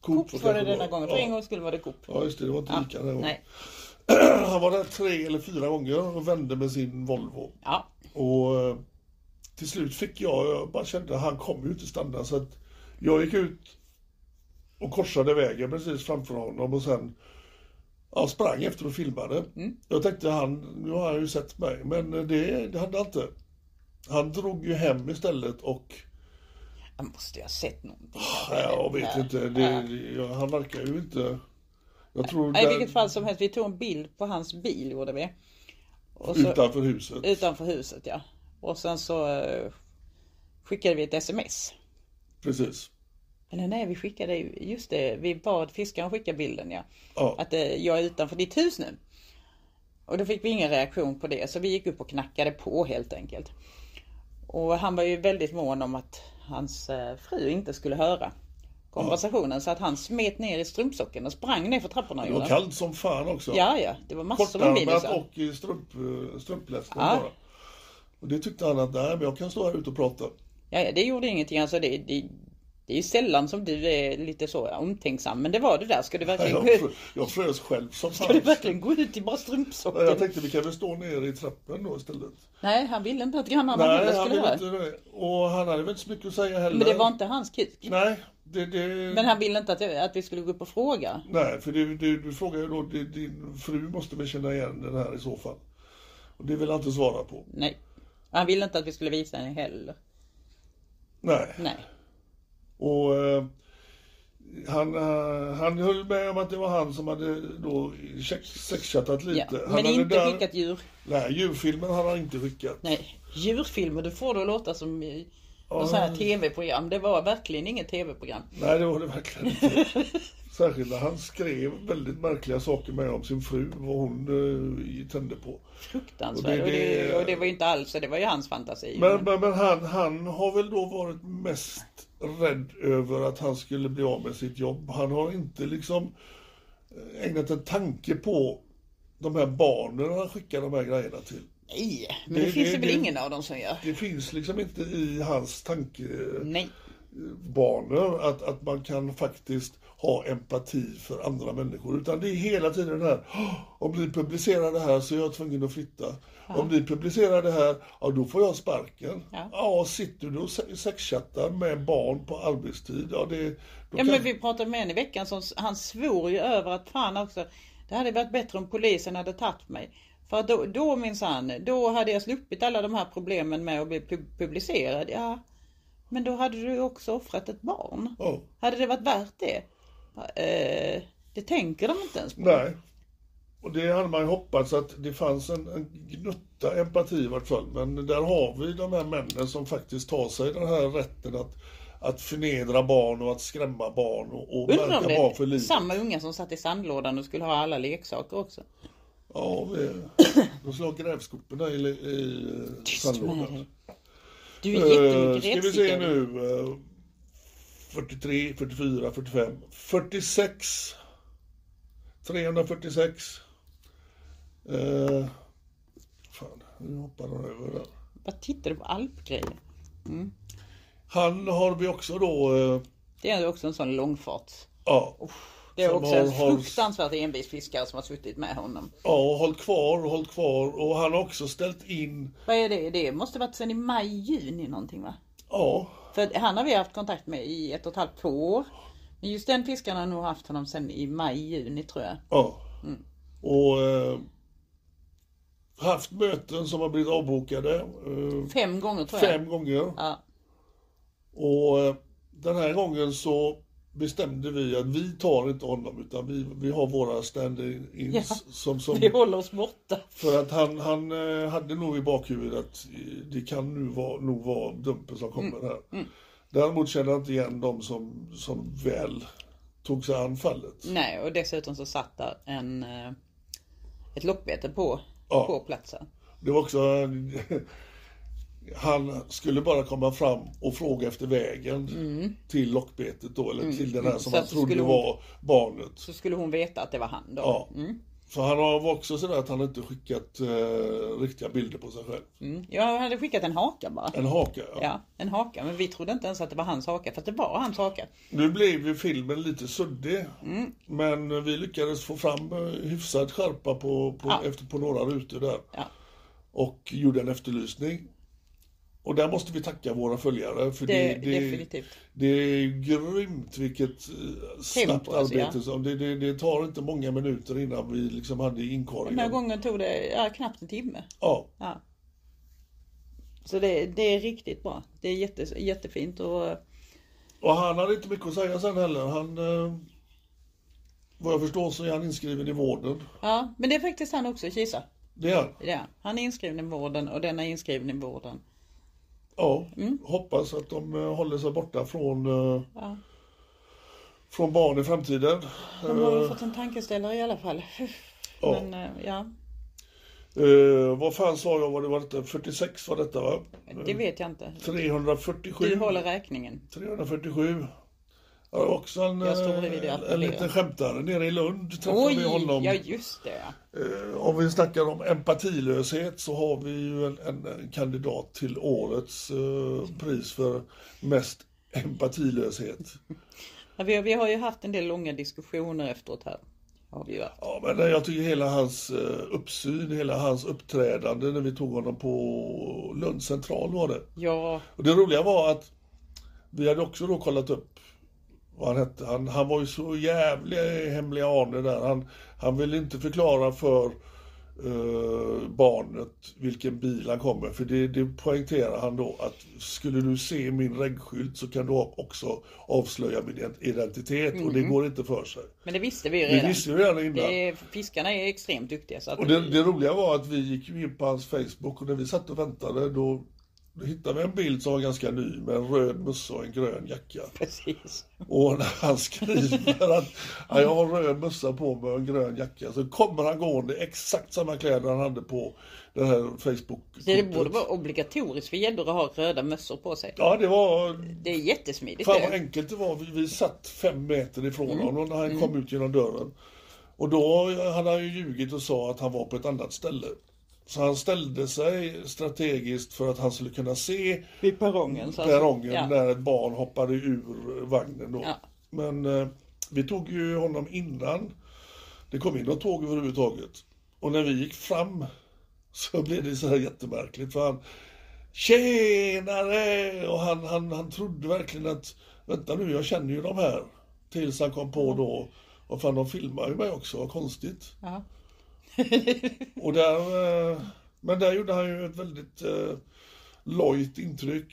S2: Coop var det
S3: kanske
S2: denna gången, för en
S3: Ja.
S2: gång skulle var det Coop.
S3: ja just det, det var inte Ica den här gången.
S2: Nej.
S3: Han var där tre eller fyra gånger och vände med sin Volvo.
S2: Ja.
S3: Och eh, till slut fick jag, jag bara kände att han kommer ju inte stanna så att jag gick ut och korsade vägen precis framför honom och sen ja, sprang efter och filmade.
S2: Mm.
S3: Jag tänkte han, nu har han ju sett mig, men det, det hade han inte. Han drog ju hem istället och
S2: Han måste ju ha sett någonting.
S3: ja, jag vet inte, det, jag, han verkar ju inte... Jag tror
S2: Nej, I
S3: där-
S2: vilket fall som helst, vi tog en bild på hans bil gjorde vi. Och så,
S3: utanför huset.
S2: utanför huset ja. Och sen så eh, skickade vi ett sms.
S3: Precis.
S2: Eller nej, vi skickade, just det, vi bad fiskaren skicka bilden ja.
S3: Ja.
S2: Att eh, jag är utanför ditt hus nu. Och då fick vi ingen reaktion på det så vi gick upp och knackade på helt enkelt. Och han var ju väldigt mån om att hans eh, fru inte skulle höra konversationen så att han smet ner i strumpsocken och sprang ner för trapporna.
S3: Det
S2: gjorde
S3: var
S2: han.
S3: kallt som fan också.
S2: Ja, ja, det var massor med
S3: Kortärmat
S2: minusar.
S3: och i strump, strumplästen
S2: liksom. Ja.
S3: bara. Och det tyckte han att, nej men jag kan stå här ute och prata.
S2: Ja, ja, det gjorde ingenting. Alltså det, det, det är ju sällan som du är lite så omtänksam, men det var det där. Ska du verkligen,
S3: Jag,
S2: gå, ut,
S3: frö- jag frös själv som
S2: ska du
S3: fan.
S2: verkligen gå ut i bara
S3: Men Jag
S2: strumpsocken?
S3: tänkte vi kan väl stå nere i trappen då istället.
S2: Nej, han ville inte att grannarna heller
S3: nej, han
S2: skulle
S3: ville
S2: höra.
S3: inte det. Och han hade väl inte så mycket att säga heller.
S2: Men det var inte hans kuk.
S3: Nej, det, det...
S2: Men han ville inte att, att vi skulle gå upp och fråga.
S3: nej för du, du, du frågar ju då, din, din fru måste väl känna igen den här i så fall. Och det vill han inte svara på.
S2: Nej. Och Han ville inte att vi skulle visa henne heller.
S3: Nej.
S2: Nej.
S3: Och eh, han, eh, han höll med om att det var han som hade då check- sexchattat
S2: Ja.
S3: lite. han
S2: Men
S3: hade
S2: inte
S3: där-
S2: skickat djur.
S3: Nej, djurfilmen hade han inte skickat.
S2: Nej. Djurfilmer, du får det att låta som i något sånt här tv-program. Det var verkligen inget tv-program.
S3: Nej, det var det verkligen inte. Särskilt när han skrev väldigt märkliga saker med om sin fru, vad hon eh, tände på.
S2: Fruktansvärt.
S3: Och det-
S2: Och det,
S3: det-
S2: och det var ju inte alls, det var ju hans fantasi.
S3: Men, men, men han, han har väl då varit mest rädd över att han skulle bli av med sitt jobb. Han har inte liksom eh, ägnat en tanke på de här barnen han skickar de här grejerna till.
S2: Nej, men det,
S3: Det-
S2: finns
S3: det-
S2: det väl
S3: det-
S2: ingen av dem som gör.
S3: Det finns liksom inte i hans tankebanor
S2: Nej.
S3: att, att man kan faktiskt ha empati för andra människor. Utan det är hela tiden det här, "Åh, om ni publicerar det här så är jag tvungen att flytta. Om ni publicerar det här, ja då får jag sparken. Ja, sitter du och se- sexchattar med barn på arbetstid, ja det... Då
S2: Ja, men vi pratade med en i veckan som han svor ju över att fan också, det hade varit bättre om polisen hade tagit mig. För att då, då minsann, då hade jag sluppit alla de här problemen med att bli pub- publicerad. Ja, men då hade du ju också offrat ett barn.
S3: ja,
S2: Hade det varit värt det? Ja, Eh, det tänker de inte ens på.
S3: nej. Och det hade man ju hoppats att det fanns en, en gnutta empati i vart fall. Men där har vi de här männen som faktiskt tar sig den här rätten att, att förnedra barn och att skrämma barn och, och
S2: Undrar om
S3: märka barn för
S2: det är
S3: livet.
S2: samma unga som satt i sandlådan och skulle ha alla leksaker också.
S3: Ja, vi- de slår grävskoporna i, i
S2: med dig.
S3: sandlådan.
S2: Du är jättemycket
S3: Eh, ska vi se
S2: rättstickare.
S3: nu. eh, 43, 44, 45, 46. 346. Uh, fan, nu hoppar de över där.
S2: Vad tittar du på alpgrejer?
S3: Han har vi också då, eh,
S2: Det är ju också en sån långfart.
S3: ja,
S2: Det är
S3: som
S2: också en
S3: har- har-
S2: fruktansvärt envis fiskare som har suttit med honom.
S3: ja, och hållit kvar och hållit kvar och han har också ställt in,
S2: Vad är det? Det måste varit sen i maj, juni någonting va?
S3: ja,
S2: För att han har vi haft kontakt med i ett och ett halvt två år. Men just den fiskaren har nog haft honom sen i maj, juni tror jag.
S3: Ja.
S2: Mm.
S3: Och eh, haft möten som har blivit avbokade eh,
S2: Fem gånger tror jag.
S3: fem gånger.
S2: Ja.
S3: Och eh, den här gången så bestämde vi att vi tar inte honom utan vi, vi har våra stand-ins
S2: Ja.
S3: som, som
S2: Vi håller oss borta.
S3: för att han, han eh, hade nog i bakhuvudet att eh, det kan nu vara, nog vara Dumpen som kommer
S2: Mm,
S3: här. Däremot kände han inte igen dem som, som väl tog sig an fallet.
S2: Nej, och dessutom så satt där en, eh, ett lockbete på,
S3: Ja.
S2: på platsen.
S3: Det var också... Han skulle bara komma fram och fråga efter vägen till lockbetet då, eller till den här
S2: Mm.
S3: som
S2: Så
S3: han
S2: att skulle
S3: trodde
S2: hon-
S3: var barnet.
S2: Så Mm. skulle hon veta att det var han då.
S3: Ja. För han har var också sådär att han inte skickat eh, riktiga bilder på sig själv.
S2: Mm. Jag hade skickat en haka bara.
S3: En haka, ja.
S2: Ja, en haka. Men vi trodde inte ens att det var hans haka, för att det var hans haka.
S3: Nu blev ju filmen lite suddig,
S2: Mm.
S3: men vi lyckades få fram eh, hyfsad skärpa på, på, efter, på några rutor där.
S2: Ja.
S3: Och gjorde en efterlysning. Och där måste vi tacka våra följare för
S2: Det-
S3: det, det,
S2: definitivt.
S3: det är grymt vilket eh, snabbt
S2: Tempo, alltså, ja.
S3: arbete som, det, det, det tar inte många minuter innan vi liksom hade
S2: Den här
S3: inkorgen.
S2: gången tog det ja, knappt en timme.
S3: Ja,
S2: Ja. Så det, det är riktigt bra. Det är jätte, jättefint och eh,
S3: och han hade inte mycket att säga sen heller. Han, eh, vad jag förstår så är han inskriven i vården.
S2: ja, men det är faktiskt han också i Kisa.
S3: Det är han.
S2: Det är han. han är inskriven i vården och den är inskriven i vården.
S3: Ja,
S2: Mm.
S3: hoppas att de eh, håller sig borta från, eh, från barn i framtiden.
S2: De har ju fått en tankeställare i alla fall.
S3: Ja.
S2: Men eh, ja,
S3: Eh, vad fan sa jag vad det var detta? 46 var detta va?
S2: det vet jag inte.
S3: 347.
S2: Du håller räkningen.
S3: 347. Ja, det var också en, eh,
S2: Jag står bredvid dig och
S3: en, en
S2: applåderar.
S3: liten skämtare nere i Lund. Träffade
S2: Oj,
S3: vi honom.
S2: ja just det ja.
S3: Eh, Om vi snackar om empatilöshet så har vi ju en, en kandidat till årets eh, pris för mest empatilöshet.
S2: ja vi, vi har ju haft en del långa diskussioner efteråt här. Har vi ju haft.
S3: Ja, men eh, jag tycker hela hans eh, uppsyn, hela hans uppträdande när vi tog honom på Lund central var det.
S2: Ja,
S3: Och det roliga var att vi hade också då kollat upp vad han hette. Han, han var ju så jävlig hemliga ane där. Han, han ville inte förklara för eh, barnet vilken bil han kommer. För det, det poängterar han då att skulle du se min regnskylt så kan du också avslöja min identitet. Och det går inte för sig.
S2: men det visste vi ju
S3: Det
S2: redan.
S3: visste vi redan innan.
S2: Det är, fiskarna är extremt duktiga. Så att
S3: Och det, det roliga var att vi gick ju in på hans Facebook och när vi satt och väntade då, då hittade vi en bild som var ganska ny med en röd mössa och en grön jacka.
S2: Precis.
S3: Och när han skriver att ja, jag har röd mössa på mig och en grön jacka så kommer han gående i exakt samma kläder han hade på det här facebook
S2: Det, det borde vara obligatoriskt för gäddor att ha röda mössor på sig.
S3: Ja, det var...
S2: Det är jättesmidigt.
S3: Fan vad
S2: det. Mm.
S3: enkelt det var. Vi, vi satt fem meter ifrån honom när han kom ut genom dörren. Och då hade han ju ljugit och sa att han var på ett annat ställe. Så han ställde sig strategiskt för att han skulle kunna se
S2: Vid perrongen. Så alltså,
S3: perrongen
S2: ja.
S3: när ett barn hoppade ur vagnen. Då.
S2: Ja.
S3: Men eh, vi tog ju honom innan det kom in något tåg överhuvudtaget. Och när vi gick fram så blev det så här jättemärkligt för han Tjenare! Och han, han, han trodde verkligen att Vänta nu, jag känner ju de här. Tills han kom
S2: Mm.
S3: på då och fan de filmar ju mig också, vad konstigt.
S2: Ja.
S3: Och där, eh, men där gjorde han ju ett väldigt eh, lojt intryck.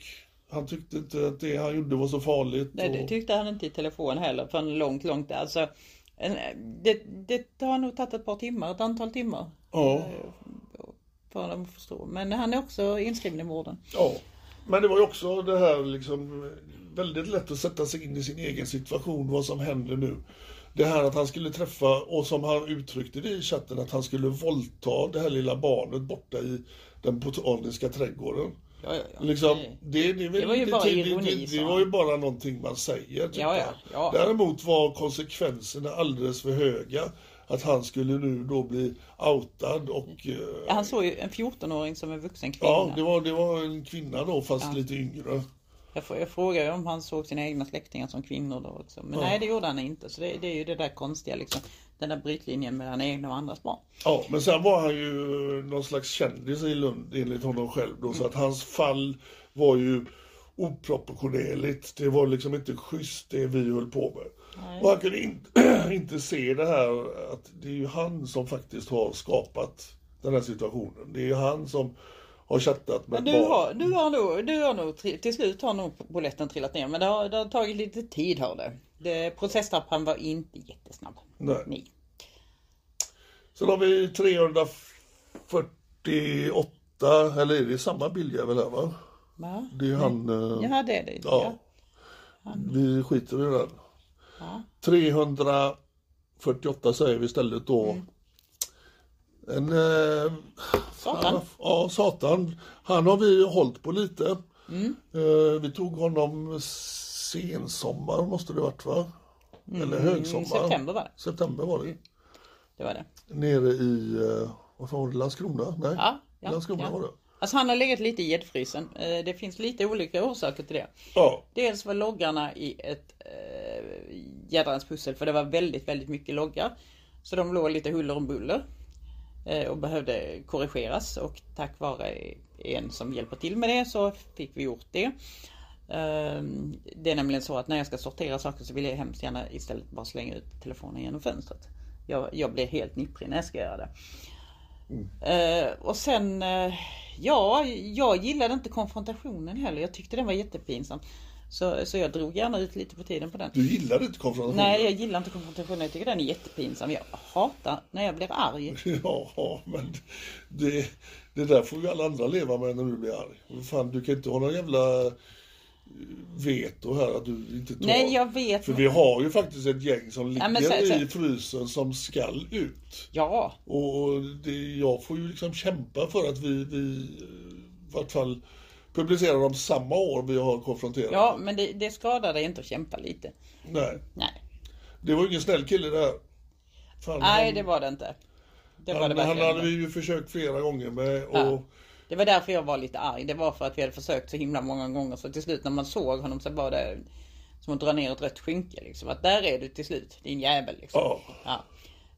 S3: Han tyckte inte att det han gjorde var så farligt.
S2: Nej, det
S3: och-
S2: tyckte han inte i telefon heller förrän långt, långt. Alltså, en- det, det har nog tagit ett par timmar, ett antal timmar
S3: ja,
S2: för honom att förstå. Men han är också inskriven i vården.
S3: ja. Men det var ju också det här liksom eh, väldigt lätt att sätta sig in i sin egen situation, vad som händer nu. Det här att han skulle träffa, och som han uttryckte det i chatten, att han skulle våldta det här lilla barnet borta i den botaniska trädgården.
S2: Ja, ja, ja.
S3: Liksom,
S2: Nej.
S3: det, det, är väl
S2: Det var ju
S3: inte
S2: bara
S3: till-
S2: ironi,
S3: Det, det
S2: sa
S3: var
S2: han.
S3: ju bara någonting man säger. tyckte
S2: Ja, ja,
S3: han.
S2: ja.
S3: Däremot var konsekvenserna alldeles för höga. Att han skulle nu då bli outad och... eh,
S2: Han såg ju en 14-åring som en vuxen kvinna.
S3: Ja, det var, det var en kvinna då, fast lite yngre.
S2: Jag, får, jag frågar ju om han såg sina egna släktingar som kvinnor då också. Men nej, det gjorde han inte. Så det, det är ju det där konstiga liksom. Den där brytlinjen mellan egna och andras barn.
S3: Ja, men sen var han ju någon slags kändis i Lund enligt honom själv då,
S2: Mm.
S3: så att hans fall var ju oproportionerligt. Det var liksom inte schysst det vi höll på med. Och han kunde in, inte se det här att det är ju han som faktiskt har skapat den här situationen. Det är ju han som har chattat med
S2: Men du
S3: barn.
S2: har, du har nog, du har nog tri- till slut har nog polletten trillat ner. Men det har, det har tagit lite tid har det. det processtrappan var inte jättesnabb.
S3: Nej.
S2: Nej.
S3: Sen har vi 348, eller är det samma bildjävel här va?
S2: Va?
S3: Det är ju han... eh,
S2: Ja, det är det.
S3: Ja. Vi skiter i den. 348 säger vi istället då.
S2: Mm.
S3: En, eh,
S2: Satan.
S3: ja, Satan. Han har vi hållit på lite.
S2: Mm.
S3: Eh, vi tog honom sensommar måste det varit va? Eller högsommar.
S2: Mm, september var det. Mm.
S3: September var det.
S2: Det var det.
S3: Nere i, eh, vad fan var det, Landskrona? Nej,
S2: Ja, ja,
S3: Landskrona
S2: ja.
S3: var det.
S2: Alltså han har legat lite i gäddfrysen. Eh, Det finns lite olika orsaker till det.
S3: Ja,
S2: Dels var loggarna i ett eh, jädrans pussel för det var väldigt, väldigt mycket loggar. Så de låg lite huller om buller. eh, och behövde korrigeras och tack vare en som hjälper till med det så fick vi gjort det. Ehm, Det är nämligen så att när jag ska sortera saker så vill jag hemskt gärna istället bara slänga ut telefonen genom fönstret. Jag, jag blir helt nipprig när jag ska göra det.
S3: Mm.
S2: Eh, och sen, eh, ja, jag gillade inte konfrontationen heller. Jag tyckte den var jättepinsam. Så, så jag drog gärna ut lite på tiden på den.
S3: Du gillar inte konfrontationer?
S2: Nej, jag gillar inte konfrontationen. Jag tycker den är jättepinsam. Jag hatar när jag blir arg.
S3: Ja, men det, det där får ju alla andra leva med när du blir arg. Men Fan, du kan inte ha någon jävla eh, veto här att du inte tar...
S2: Nej, jag vet.
S3: För vi har ju faktiskt ett gäng som
S2: Ja,
S3: ligger
S2: men så- så-
S3: i frysen som skall ut.
S2: Ja,
S3: Och och det, jag får ju liksom kämpa för att vi, vi eh, i vart fall publicerar dem samma år vi har konfronterat.
S2: ja men det, det skadar dig inte att kämpa lite.
S3: Nej,
S2: Nej,
S3: det var ju ingen snäll kille det här. Fan,
S2: Nej
S3: han-
S2: det var det inte. Det var det
S3: han, han
S2: verkligen
S3: hade
S2: inte.
S3: vi ju försökt flera gånger med och
S2: Ja. Det var därför jag var lite arg. Det var för att vi hade försökt så himla många gånger så till slut när man såg honom så var det som att dra ner ett rött skynke. Liksom. Att där är du till slut, din jävel. Liksom.
S3: Ja.
S2: Ja.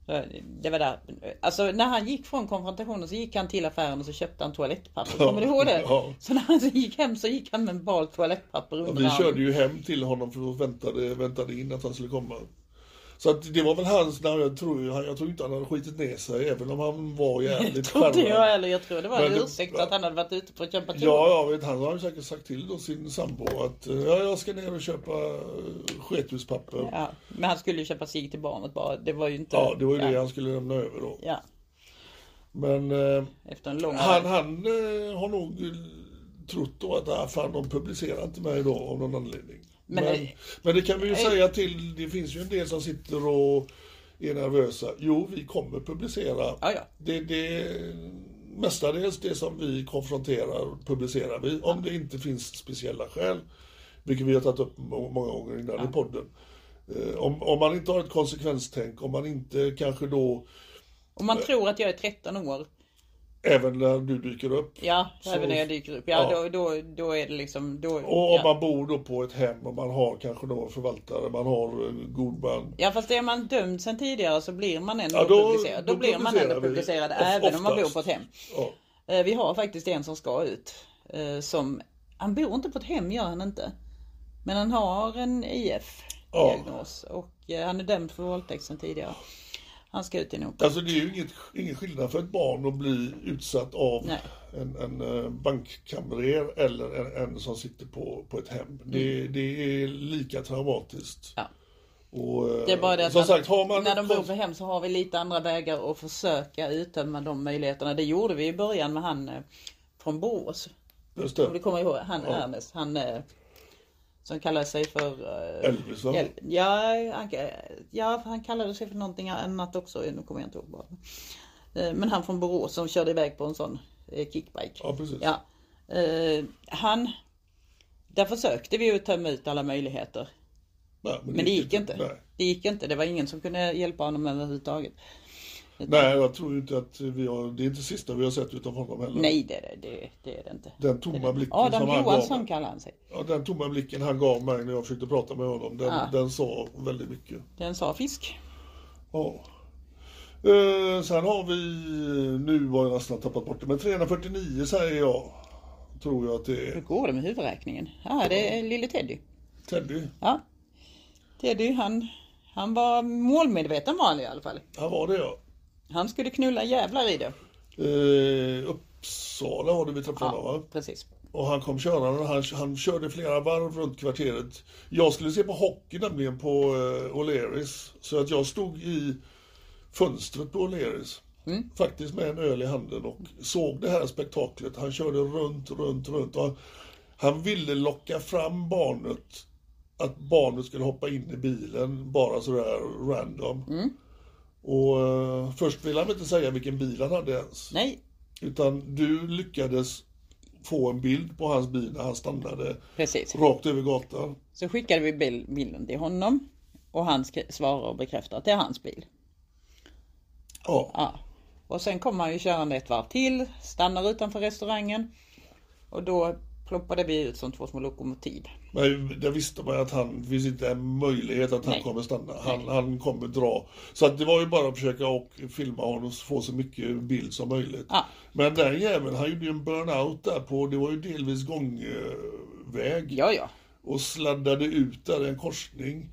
S2: Så Det var där. Alltså när han gick från konfrontationen så gick han till affären och så köpte han toalettpapper. Kommer du ihåg det?
S3: Ja.
S2: Så när han så gick hem så gick han med en bal toalettpapper
S3: Ja,
S2: under
S3: Vi
S2: armen.
S3: körde ju hem till honom för att väntade, väntade in att han skulle komma. Så att det var väl hans, nej, jag tror ju- jag tror inte han hade skitit ner sig även om han var jävligt
S2: Trodde jag
S3: charmig.
S2: eller jag tror det var
S3: Men
S2: en
S3: det-
S2: ursäkt att han hade varit ute på att köpa toa.
S3: Ja, jag vet, han har ju säkert sagt till då sin sambo att eh, ja, jag ska ner och köpa eh, skethuspapper. Ja,
S2: Ja, Men han skulle ju köpa sig till barnet bara. Det var ju inte...
S3: det var ju det han skulle lämna över då.
S2: Ja,
S3: Men eh,
S2: efter en lång
S3: han, han eh, har nog trott då att ah, fan, de publicerar inte mig då av någon anledning.
S2: Men-
S3: Men, men, det kan vi ju säga till, det finns ju en del som sitter och är nervösa. Jo, vi kommer publicera.
S2: Ja, ja.
S3: Det, det, mestadels det som vi konfronterar publicerar vi, om det inte finns speciella skäl. Vilket vi har tagit upp må- många gånger innan i podden. Eh, Om, om man inte har ett konsekvenstänk, om man inte kanske då,
S2: Om man tror att jag är 13 år,
S3: även när du dyker upp,
S2: ja, även när jag dyker upp, ja,
S3: ja.
S2: Då, då, då är det liksom... Då,
S3: Och om
S2: ja.
S3: man bor då på ett hem och man har kanske då en förvaltare, man har eh, god man.
S2: ja, fast är man dömd sen tidigare så blir man ändå
S3: Ja, då-
S2: publicerad. Då,
S3: då
S2: blir man ändå
S3: publicerar vi
S2: publicerad
S3: of-
S2: även om man bor
S3: oftast.
S2: på ett hem.
S3: Ja.
S2: Eh, Vi har faktiskt en som ska ut. eh, Som, han bor inte på ett hem, gör han inte. Men han har en IF-diagnos och eh, han är dömd för våldtäkt sen tidigare. Han ska ut i Norden.
S3: Alltså det är ju inget, ingen skillnad för ett barn att bli utsatt av
S2: Nej.
S3: en, en eh, bankkamrer eller en, en som sitter på, på ett hem. Det, det är lika traumatiskt.
S2: Mm. Ja.
S3: Och, eh,
S2: Det är bara det att
S3: som
S2: man,
S3: sagt, har man
S2: när
S3: ett
S2: de bor
S3: kons-
S2: på hem så har vi lite andra vägar att försöka uttömma de möjligheterna. Det gjorde vi i början med han eh, från Borås.
S3: Just
S2: Om du
S3: det.
S2: kommer ihåg, han Ernest, han eh, som kallar sig för... eh,
S3: Elvis va?
S2: El- Ja, han, ja, för han kallade sig för någonting annat också, nu kommer jag inte ihåg vad. Eh, Men han från Borås som körde iväg på en sån eh, kickbike.
S3: Ja, precis.
S2: Ja. Eh, Han... Där försökte vi ju tömma ut alla möjligheter.
S3: Nej,
S2: Men det gick inte.
S3: Nej.
S2: Det gick inte. Det var ingen som kunde hjälpa honom överhuvudtaget.
S3: Nej, jag tror ju inte att vi har, det är inte sista vi har sett utav honom heller.
S2: Nej, det, det, det, det är det inte.
S3: Den tomma blicken
S2: Adam
S3: som han gav
S2: Johansson
S3: mig.
S2: kallar han sig.
S3: Ja, den tomma blicken han gav mig när jag försökte prata med honom, den, den sa väldigt mycket.
S2: Den sa fisk.
S3: Ja. Eh, sen har vi, nu har jag nästan tappat bort det, men 349 säger jag. Tror jag att det
S2: Hur
S3: är
S2: går det med huvudräkningen? Ja, det är lille Teddy.
S3: Teddy.
S2: Ja. Teddy han, han var målmedveten var han i alla fall.
S3: Här var det ja.
S2: Han skulle knulla jävlar i det.
S3: Eh, Uppsala var det vi träffade honom va?
S2: Precis.
S3: Och han kom körande, han, han körde flera varv runt kvarteret. Jag skulle se på hockey nämligen på eh, O'Learys. Så att jag stod i fönstret på O'Learys. Faktiskt med en öl i handen och såg det här spektaklet. Han körde runt, runt, runt. Och han, han ville locka fram barnet. Att barnet skulle hoppa in i bilen bara sådär random. Och eh, först ville han inte säga vilken bil han hade ens.
S2: Nej,
S3: Utan du lyckades få en bild på hans bil när han stannade
S2: precis.
S3: rakt över gatan.
S2: Så skickade vi bil- bilden till honom. Och han skri- svarar och bekräftar att det är hans bil.
S3: Ja.
S2: Ja. Och sen kommer han ju körande ett varv till, stannar utanför restaurangen. Och då ploppade vi ut som två små lokomotiv.
S3: Men där visste man ju att han, det finns inte en möjlighet att han
S2: Nej.
S3: kommer stanna. Han, han kommer dra. Så att det var ju bara att försöka och filma honom och få så mycket bild som möjligt.
S2: Ja.
S3: Men den jäveln, han gjorde ju en burnout där på, det var ju delvis gångväg.
S2: Ja, ja.
S3: Och sladdade ut där i en korsning.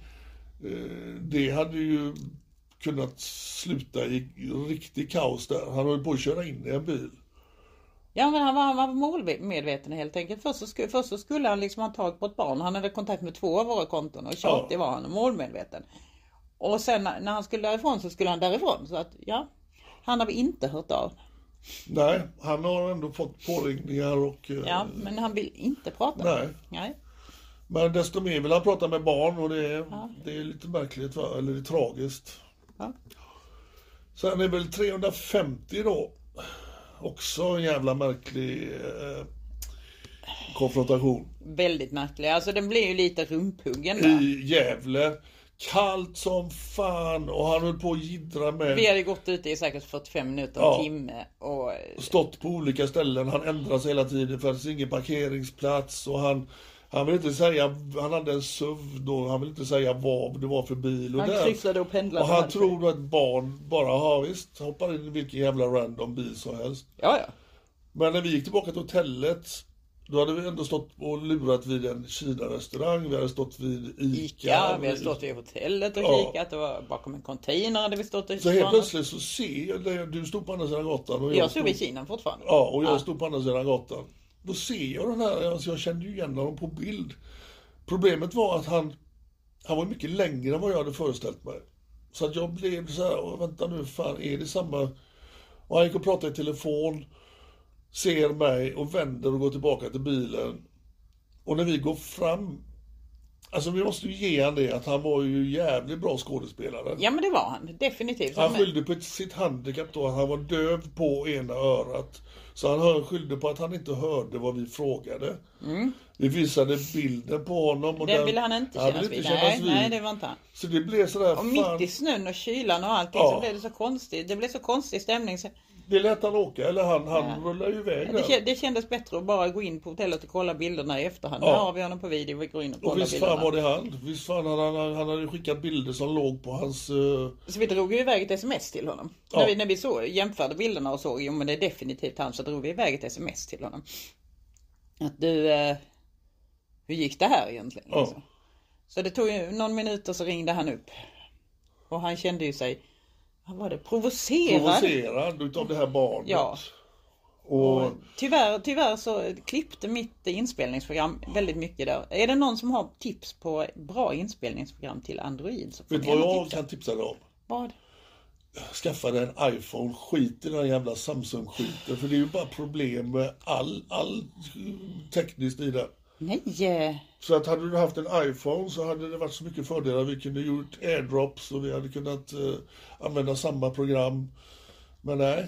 S3: Eh, Det hade ju kunnat sluta i riktig kaos där. Han höll på att köra in i en bil.
S2: Ja men han var, han var målmedveten helt enkelt. Först så, sku, först så skulle han liksom ha tag på ett barn. Han hade kontakt med två av våra konton och tjatig var han och målmedveten. Och sen när när han skulle därifrån så skulle han därifrån. Så att ja, han har vi inte hört av.
S3: Nej, han har ändå fått påringningar och... eh,
S2: Ja, men han vill inte prata.
S3: Nej.
S2: Nej.
S3: Men desto mer vill han prata med barn och det är, det är lite märkligt, va? eller det är tragiskt.
S2: Ja.
S3: Sen är väl 350 då också en jävla märklig eh, konfrontation.
S2: Väldigt märklig. Alltså den blir ju lite rumphuggen där.
S3: I Gävle. Kallt som fan och han höll på att jiddra
S2: Vi
S3: med.
S2: hade gått ute i säkert 45 minuter, en
S3: Ja.
S2: timme och eh,
S3: Stått på olika ställen, han ändrade sig hela tiden för det fanns ingen parkeringsplats och han han vill inte säga, han hade en SUV då, han vill inte säga vad det var för bil. Och
S2: han
S3: där-
S2: kryssade och pendlade.
S3: Och han
S2: hade-
S3: tror att barn bara, ja visst, hoppar in i vilken jävla random bil som helst.
S2: Ja, ja.
S3: Men när vi gick tillbaka till hotellet, då hade vi ändå stått och lurat vid en Kina-restaurang, vi hade stått vid ICA.
S2: Ica, vi hade stått vid hotellet och
S3: Ja.
S2: kikat och bakom en container hade vi stått och
S3: Så helt
S2: varnat.
S3: plötsligt så ser jag, dig, du stod på andra sidan gatan och jag,
S2: Jag stod vid Kina fortfarande.
S3: Ja, och jag stod på andra sidan gatan. Då ser jag den här, alltså jag kände ju igen honom på bild. Problemet var att han, han var mycket längre än vad jag hade föreställt mig. Så att jag blev så här, "Åh, vänta nu, fan är det samma? Och han gick och pratade i telefon, ser mig och vänder och går tillbaka till bilen. Och när vi går fram, alltså vi måste ju ge han det att han var ju jävligt bra skådespelare.
S2: Ja men det var han, definitivt.
S3: Han
S2: Men-
S3: skyllde på ett- sitt handikapp då, han var döv på ena örat. Så han hör- skyllde på att han inte hörde vad vi frågade. Vi visade bilden på honom. Och
S2: Mm. Den
S3: där-
S2: ville han inte
S3: han
S2: kännas
S3: ville
S2: vid.
S3: inte
S2: Nej,
S3: kännas vid.
S2: nej det var inte han.
S3: Så det blev sådär,
S2: Och
S3: fan,
S2: mitt i snön och kylan och allting
S3: Ja.
S2: så blev det så konstigt. Det blev så konstig stämning. Så
S3: det lät han åka, eller han, han rullade ju iväg
S2: det,
S3: där.
S2: kä- det kändes bättre att bara gå in på hotellet och kolla bilderna i efterhand.
S3: Ja.
S2: Nu har vi honom på video, vi går in och kollar
S3: Och visst
S2: bilderna.
S3: fan var det han. Visst fan, han, han, han hade skickat bilder som låg på hans... eh,
S2: Så vi drog ju iväg ett sms till honom.
S3: Ja.
S2: När vi, när vi så, jämförde bilderna och såg, jo men det är definitivt han, så drog vi iväg ett sms till honom. Att du, eh, hur gick det här egentligen?
S3: Ja.
S2: Liksom. Så det tog ju någon minut och så ringde han upp. Och han kände ju sig, vad var det, provocerad.
S3: provocerad utav det här barnet.
S2: Ja.
S3: Och,
S2: Tyvärr, tyvärr så klippte mitt inspelningsprogram väldigt mycket där. Är det någon som har tips på bra inspelningsprogram till Android? Så får
S3: vet
S2: ni
S3: du vad
S2: gärna
S3: jag
S2: tipsa.
S3: kan tipsa dig om?
S2: Vad?
S3: skaffade en iPhone, skit i den jävla Samsung-skiten. För det är ju bara problem med all, all tekniskt i den.
S2: Nej, eh,
S3: Så att hade du haft en iPhone så hade det varit så mycket fördelar. Vi kunde gjort airdrops och vi hade kunnat eh, använda samma program. Men nej,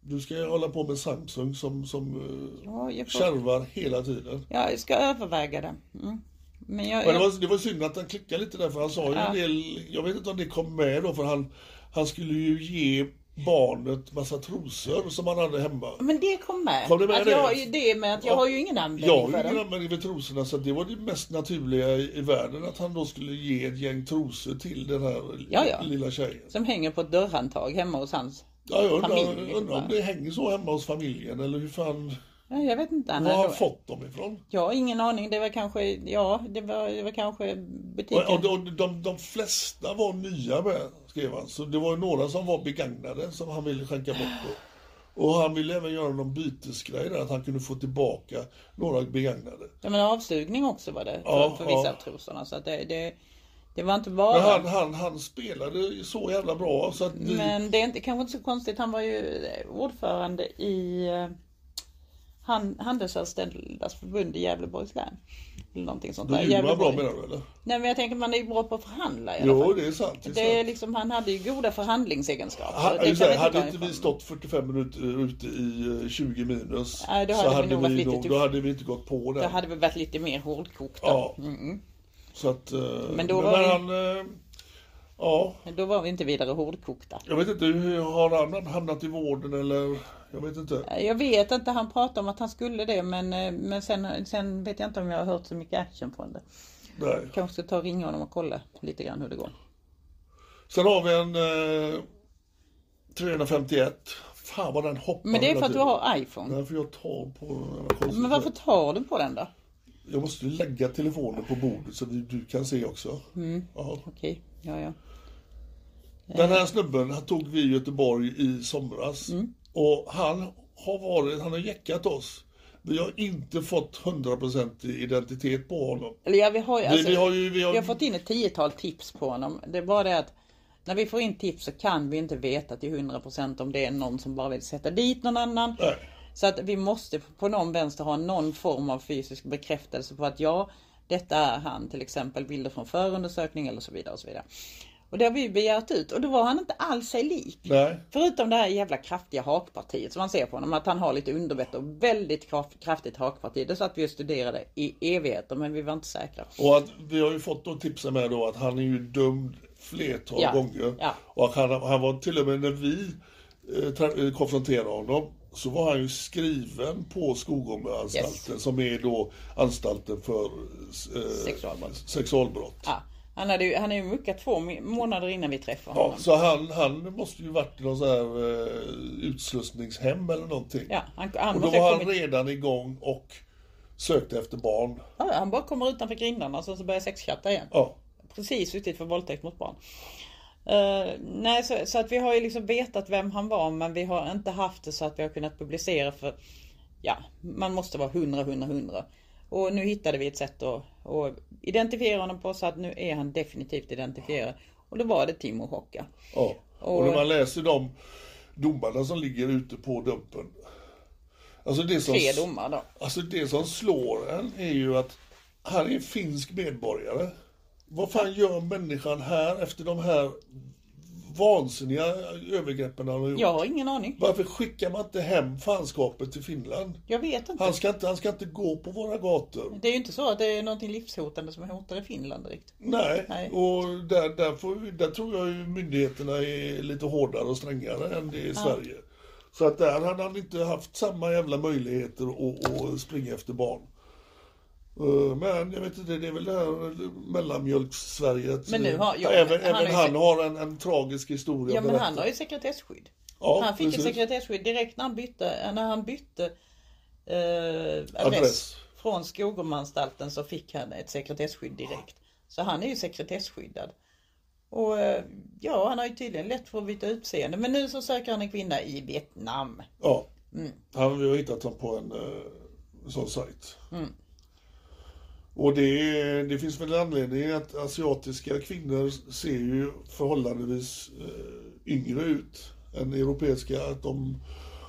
S3: du ska ju hålla på med Samsung som, som eh,
S2: ja, jag får...
S3: kärvar hela tiden.
S2: Ja, jag ska överväga det. Mm. Men jag,
S3: Men det var, det var synd att han klickade lite där för han sa ju en
S2: Ja.
S3: del, jag vet inte om det kom med då för han, han skulle ju ge barnet massa trosor som han hade hemma.
S2: men det kom med.
S3: Kom det med
S2: att
S3: det?
S2: Jag har ju det med att jag
S3: Ja.
S2: har ju ingen
S3: Jag
S2: användning
S3: har
S2: för
S3: ju ingen
S2: den.
S3: användning för trosorna så det var det mest naturliga i, i världen att han då skulle ge ett gäng trosor till den här li-
S2: Ja, ja.
S3: lilla tjejen.
S2: Som hänger på ett dörrhandtag hemma hos hans.
S3: Ja, jag undrar,
S2: Familj,
S3: undrar om
S2: va?
S3: det hänger så hemma hos familjen eller hur fan,
S2: Ja, jag vet inte. Han
S3: var har
S2: hade-
S3: han fått dem ifrån?
S2: Jag har ingen aning. Det var kanske, ja, det var, det var kanske butiken.
S3: Och, och, och de, de flesta var nya med, skrev han. Så det var ju några som var begagnade som han ville skänka bort då. Och han ville även göra någon bytesgrej där, att han kunde få tillbaka några begagnade.
S2: Ja, men avsugning också var det för,
S3: Ja,
S2: för vissa
S3: ja.
S2: av trosorna. Så att det, det, det var inte bara...
S3: Men han, han, han spelade ju så jävla bra så att vi,
S2: Men det är inte, kanske inte så konstigt. Han var ju eh, ordförande i eh, han, Handelsanställdas förbund i Gävleborgs län. Eller någonting sånt
S3: då
S2: där.
S3: gjorde man bra
S2: Gävleborg.
S3: menar du eller?
S2: Nej men jag tänker man är ju bra på att förhandla i alla
S3: Jo,
S2: fall.
S3: det är sant. Det är
S2: Det är
S3: sant.
S2: liksom, han hade ju goda förhandlingsegenskaper.
S3: Ha-
S2: det
S3: just det,
S2: vi
S3: hade
S2: ta
S3: inte
S2: ifrån.
S3: vi stått 45 minuter ute i eh, 20 minus
S2: Nej, då
S3: så
S2: hade vi nog varit
S3: vi
S2: lite
S3: nog, då
S2: tuff.
S3: hade vi inte gått på
S2: Då
S3: det.
S2: hade vi varit lite mer hårdkokta.
S3: Ja. Så att, eh,
S2: Men då var vi-
S3: han, eh, Ja,
S2: Då var vi inte vidare hårdkokta.
S3: jag vet inte, hur har han hamnat i vården eller? Jag vet inte.
S2: Jag vet inte, han pratade om att han skulle det men, eh, men sen, sen vet jag inte om jag har hört så mycket action från det.
S3: Nej.
S2: Kanske ska ta och ringa honom och kolla lite grann hur det går.
S3: Sen har vi en eh, 351. Fan vad den hoppar
S2: Men det är
S3: hela
S2: för att du
S3: tiden.
S2: har iPhone.
S3: Nej, för jag tar på den här konstiga-
S2: Men varför tar du på den då?
S3: Jag måste ju lägga telefonen på bordet så vi, du kan se också.
S2: Mm.
S3: Ja.
S2: Okej, ja ja.
S3: Den
S2: Eh.
S3: här snubben han tog vi i Göteborg i somras.
S2: Mm.
S3: Och han har varit, han har jäckat oss. Vi har inte fått 100% identitet på honom.
S2: Eller ja, vi har ju, alltså,
S3: vi har ju- vi har-
S2: vi har fått in ett tiotal tips på honom. Det är bara det att när vi får in tips så kan vi inte veta till 100% om det är någon som bara vill sätta dit någon annan.
S3: Nej.
S2: Så att vi måste på någon vänster ha någon form av fysisk bekräftelse på att ja, detta är han till exempel, bilder från förundersökning eller så vidare. Och så vidare. Och det har vi begärt ut och då var han inte alls sig lik.
S3: Nej.
S2: Förutom det här jävla kraftiga hakpartiet som man ser på honom, att han har lite underbett och väldigt kraft- kraftigt hakparti. Det satt vi och studerade i evigheter men vi var inte säkra.
S3: Och att vi har ju fått då tipsen med då att han är ju dömd flertal
S2: Ja,
S3: gånger.
S2: ja.
S3: Och att han, han var till och med när vi eh, tra- eh, konfronterade honom så var han ju skriven på Skogome-anstalten som är då anstalten för eh,
S2: Sexualbrott.
S3: sexualbrott.
S2: Ja, Ah, han, hade ju, han är ju muckat två mi- månader innan vi träffade
S3: Ja,
S2: honom.
S3: så han, han måste ju varit i någon sån här eh, utslussningshem eller någonting.
S2: Ja, han, han,
S3: och då
S2: måste ha
S3: var han
S2: kommit,
S3: redan igång och sökte efter barn.
S2: ja, han bara kommer utanför grindarna så, så börjar sexchatta igen.
S3: Ja,
S2: Precis suttit för våldtäkt mot barn. Eh, nej, så, så att vi har ju liksom vetat vem han var men vi har inte haft det så att vi har kunnat publicera för ja, man måste vara 100, 100, 100. Och nu hittade vi ett sätt att, att identifiera honom på så att nu är han definitivt identifierad. Och då var det Timo Hocka.
S3: ja. Och,
S2: Och-
S3: när man läser de domarna som ligger ute på dumpen. Alltså det som,
S2: Tre domar då.
S3: alltså det som slår en är ju att han är finsk medborgare. Vad fan gör människan här efter de här vansinniga övergreppen han har gjort?
S2: Jag har ingen aning.
S3: Varför skickar man inte hem fanskapet till Finland?
S2: Jag vet inte.
S3: Han ska inte, han ska inte gå på våra gator.
S2: Det är ju inte så att det är någonting livshotande som hotar i Finland direkt.
S3: Nej,
S2: Nej.
S3: och där, där, får, vi- där tror jag ju myndigheterna är lite hårdare och strängare än det är i Sverige. Så att där hade han inte haft samma jävla möjligheter att, att springa efter barn. Eh, Men jag vet inte, det är väl det här mellanmjölkssverige. att- eh,
S2: Men nu har- ja,
S3: även
S2: han
S3: han,
S2: har
S3: även
S2: ju
S3: han
S2: sett-
S3: har en, en tragisk historia
S2: Ja
S3: att
S2: men
S3: berätta.
S2: han har ju sekretesskydd.
S3: Ja,
S2: han fick
S3: precis.
S2: ett sekretesskydd direkt när han bytte, när han bytte eh, adress,
S3: Adress.
S2: från Skogomanstalten så fick han ett sekretesskydd direkt. Så han är ju sekretesskyddad. Och eh, ja, han har ju tydligen lätt för att byta utseende. Men nu så söker han en kvinna i Vietnam.
S3: Ja,
S2: Mm.
S3: han, vi har hittat honom på en eh, sån sajt.
S2: Mm.
S3: Och det, är- det finns väl en anledning att asiatiska kvinnor ser ju förhållandevis eh, yngre ut än europeiska. Att de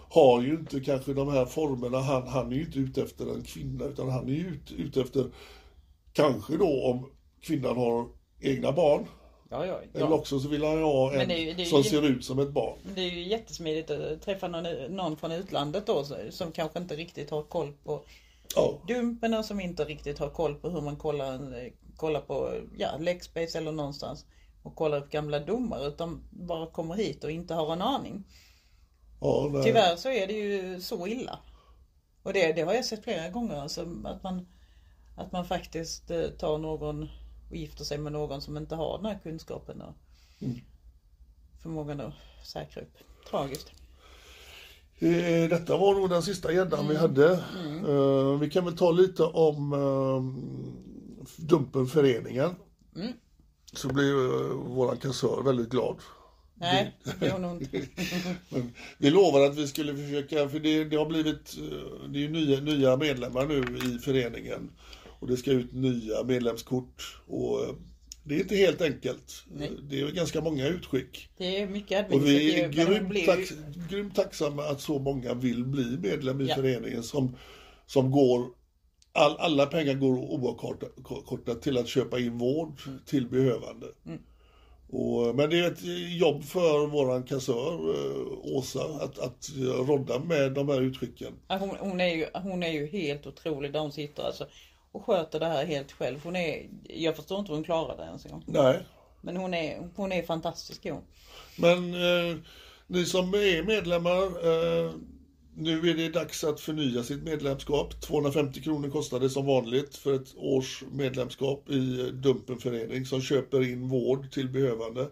S3: har ju inte kanske de här formerna. Han, han är ju inte ute efter en kvinna utan han är ju ute, ute efter kanske då om kvinnan har egna barn.
S2: Ja, ja,
S3: Eller
S2: ja.
S3: också så vill han ju ha en
S2: Men det är ju- det är ju-
S3: som ser ut som ett barn.
S2: Det är ju jättesmidigt att träffa någon, någon från utlandet då så- som kanske inte riktigt har koll på
S3: Ja.
S2: dumpen och som inte riktigt har koll på hur man kollar, en- eh, kollar på ja, Lexbase eller någonstans och kollar upp gamla domar utan bara kommer hit och inte har en aning.
S3: Ja, nej.
S2: Tyvärr så är det ju så illa. Och det, det har jag sett flera gånger, alltså, att, man, att man faktiskt eh, tar någon och gifter sig med någon som inte har den här kunskapen och
S3: Mm.
S2: förmågan att säkra upp. Tragiskt.
S3: Eh, Detta var nog den sista gäddan vi hade. Eh, Vi kan väl ta lite om eh, Dumpenföreningen. Så blir eh, våran kassör väldigt glad.
S2: Nej, det gör nog inte.
S3: Men vi lovade att vi skulle försöka, för det, det har blivit, eh, det är ju nya, nya medlemmar nu i föreningen. Och det ska ut nya medlemskort. Och eh, det är inte helt enkelt. Eh, Det är ganska många utskick.
S2: Det är mycket
S3: Och vi är
S2: administrativt, men det
S3: grymt,
S2: blir
S3: tack,
S2: ju-
S3: grymt tacksamma att så många vill bli medlem i
S2: Ja.
S3: föreningen som, som går all, alla pengar går oavkortat till att köpa in vård
S2: Mm.
S3: till behövande. Och, men det är ett jobb för våran kassör eh, Åsa att, att rodda med de här utskicken.
S2: Ja, Hon, hon, är ju, hon är ju helt otrolig där hon sitter alltså. Och sköter det här helt själv. Hon är, jag förstår inte hur hon klarar det ens en gång.
S3: Nej,
S2: Men hon är, hon är fantastisk hon.
S3: Men eh, ni som är medlemmar, eh, nu är det dags att förnya sitt medlemskap. 250 kronor kostar det som vanligt för ett års medlemskap i eh, Dumpenförening som köper in vård till behövande.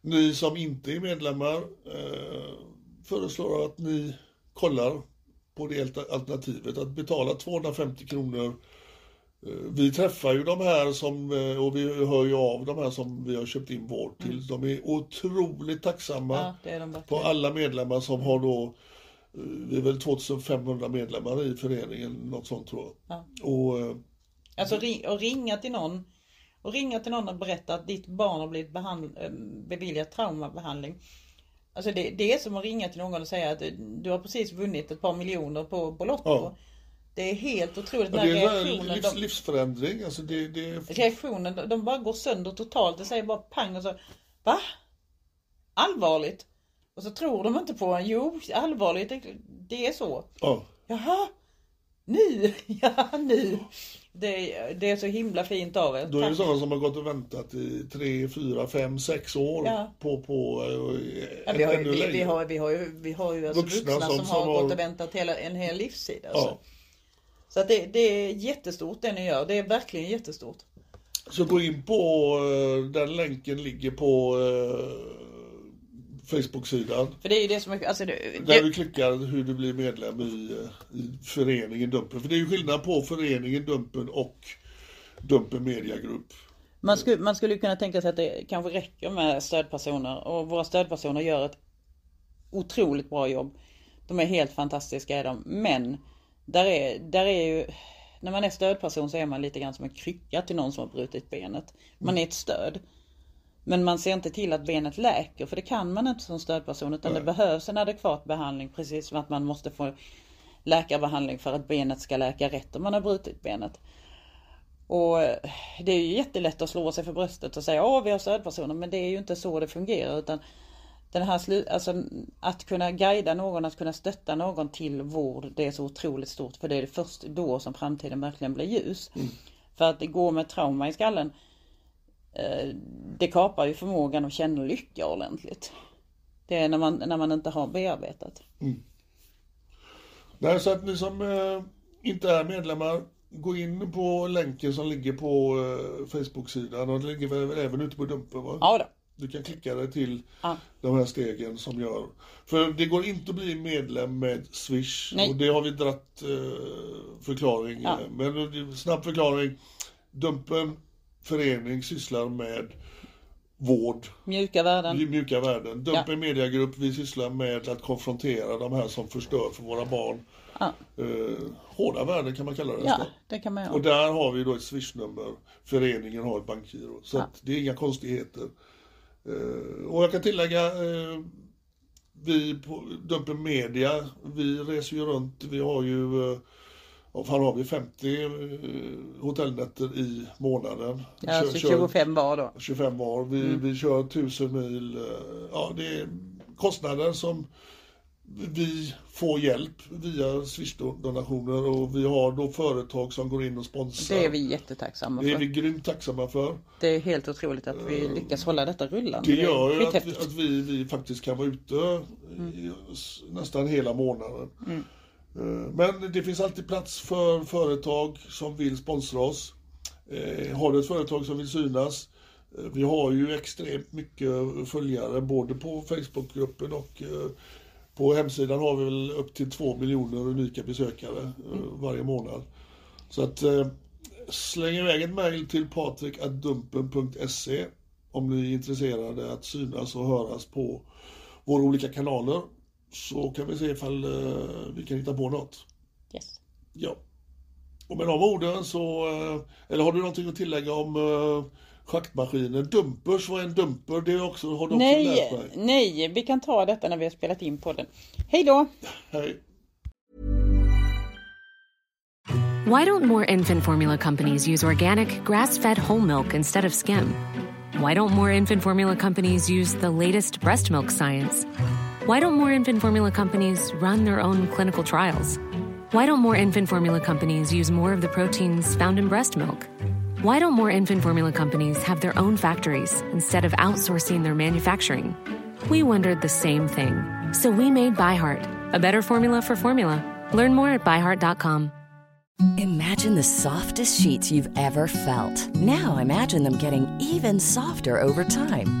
S3: Ni som inte är medlemmar eh, föreslår att ni kollar på det alter- alternativet att betala 250 kronor Eh, vi träffar ju de här som, eh, och vi hör ju av de här som vi har köpt in vård till. De är otroligt tacksamma
S2: Ja, det är de
S3: på
S2: verkligen.
S3: alla medlemmar som har då, eh, vi är väl 2500 medlemmar i föreningen, något sånt tror jag. Och, eh,
S2: Alltså ri- och ringa till någon och ringa till någon och berätta att ditt barn har blivit behand- eh, beviljat traumabehandling. Alltså det, det är som att ringa till någon och säga att eh, du har precis vunnit ett par miljoner på, på Lotto.
S3: Ja.
S2: Det är helt otroligt
S3: ja,
S2: när
S3: det är en
S2: reaktionen,
S3: livs,
S2: de,
S3: livsförändring. Alltså det, det,
S2: reaktionen, de- de bara går sönder totalt. Det säger bara pang och så Va? Allvarligt? Och så tror de inte på en. Jo, allvarligt, det, det är så.
S3: ja.
S2: Jaha, nu, ja nu. Det, det är så himla fint av er.
S3: Då är det
S2: Tack.
S3: sådana som har gått och väntat i 3, 4, 5, 6 år
S2: Ja.
S3: på, på eh,
S2: Ja, vi, har, ju-
S3: ännu
S2: vi,
S3: längre.
S2: vi, har, vi har ju, vi har ju alltså vuxna, som, har gått och väntat hela, en hel livstid. Alltså.
S3: ja.
S2: Så att det, det är jättestort det ni gör. Det är verkligen jättestort.
S3: Så gå in på, eh, den länken ligger på eh, Facebook-sidan.
S2: För det är ju det som är... Alltså det,
S3: Där
S2: det,
S3: du klickar hur du blir medlem i, eh, i föreningen Dumpen. För det är ju skillnad på föreningen Dumpen och Dumpen Media Group.
S2: man, skulle, man skulle ju kunna tänka sig att det kanske räcker med stödpersoner. Och våra stödpersoner gör ett otroligt bra jobb. De är helt fantastiska är de. Men där är, där är ju... När man är stödperson så är man lite grann som en krycka till någon som har brutit benet. Man är ett stöd. Men man ser inte till att benet läker för det kan man inte som stödperson utan det behövs en adekvat behandling precis som att man måste få läkarbehandling för att benet ska läka rätt om man har brutit benet. Och eh, det är ju jättelätt att slå sig för bröstet och säga åh vi har stödpersoner men det är ju inte så det fungerar utan den här slu- alltså, att kunna guida någon, att kunna stötta någon till vård, det är så otroligt stort för det är först då som framtiden verkligen blir ljus.
S3: Mm.
S2: För att gå med trauma i skallen, eh, det kapar ju förmågan att känna lycka ordentligt. Det är när man, när man inte har bearbetat.
S3: Mm. Nej, så att ni som eh, inte är medlemmar, gå in på länken som ligger på eh, Facebook-sidan. Och det ligger väl även ute på Dumpen va?
S2: Ja då.
S3: Du kan klicka dig till de här stegen som gör. För det går inte att bli medlem med Swish.
S2: Nej.
S3: Och det har vi dratt eh, förklaring. eh, Men eh, snabb förklaring. Dumpen förening sysslar med vård,
S2: Mjuka värden.
S3: mjuka värden. Dumpen mediagrupp, vi sysslar med att konfrontera de här som förstör för våra barn.
S2: Ja.
S3: Eh, hårda värden kan man kalla det.
S2: Ja,
S3: nästan.
S2: det kan man
S3: Och
S2: göra.
S3: där har vi då ett swishnummer. Föreningen har ett bankgiro. Så att det är inga konstigheter. Eh, och jag kan tillägga, eh, vi på Dumpen Media, vi reser ju runt. Vi har ju, eh, vad fan har vi, 50 eh, hotellnätter i månaden.
S2: Ja, så 25 var då.
S3: 25 var. Vi,
S2: Mm.
S3: vi kör 1000 mil. eh, Ja, det är kostnader som vi får hjälp via Swish-donationer och vi har då företag som går in och sponsrar.
S2: Det är vi jättetacksamma
S3: Det är vi
S2: för.
S3: grymt tacksamma för.
S2: Det är helt otroligt att vi lyckas hålla detta rullande.
S3: Mm. Det gör ju att, vi,
S2: skithäftigt.
S3: att vi, vi faktiskt kan vara ute i, s- nästan hela månaden. Eh, Men det finns alltid plats för företag som vill sponsra oss. Eh, Har du ett företag som vill synas? eh, Vi har ju extremt mycket följare både på Facebookgruppen och eh, på hemsidan har vi väl upp till 2 miljoner unika besökare eh, varje månad. Så att eh, släng iväg ett mejl till patrikadumpen.se om ni är intresserade att synas och höras på våra olika kanaler. Så kan vi se ifall eh, vi kan hitta på något.
S2: Yes.
S3: Ja. Och med de orden så, eh, eller har du någonting att tillägga om eh, schaktmaskinen? Dumpers, vad är en dumper? Det är också, har du också
S2: Nej,
S3: lärt dig?
S2: nej, vi kan ta detta när vi har spelat in podden. Hej då!
S3: Hej.
S4: Why don't more infant formula companies use organic, grass fed whole milk instead of skim? Why don't more infant formula companies use the latest breast milk science? Why don't more infant formula companies run their own clinical trials? Why don't more infant formula companies use more of the proteins found in breast milk? Why don't more infant formula companies have their own factories instead of outsourcing their manufacturing? We wondered the same thing. So we made ByHeart, a better formula for formula. Learn more at byheart.com.
S1: Imagine the softest sheets you've ever felt. Now imagine them getting even softer over time.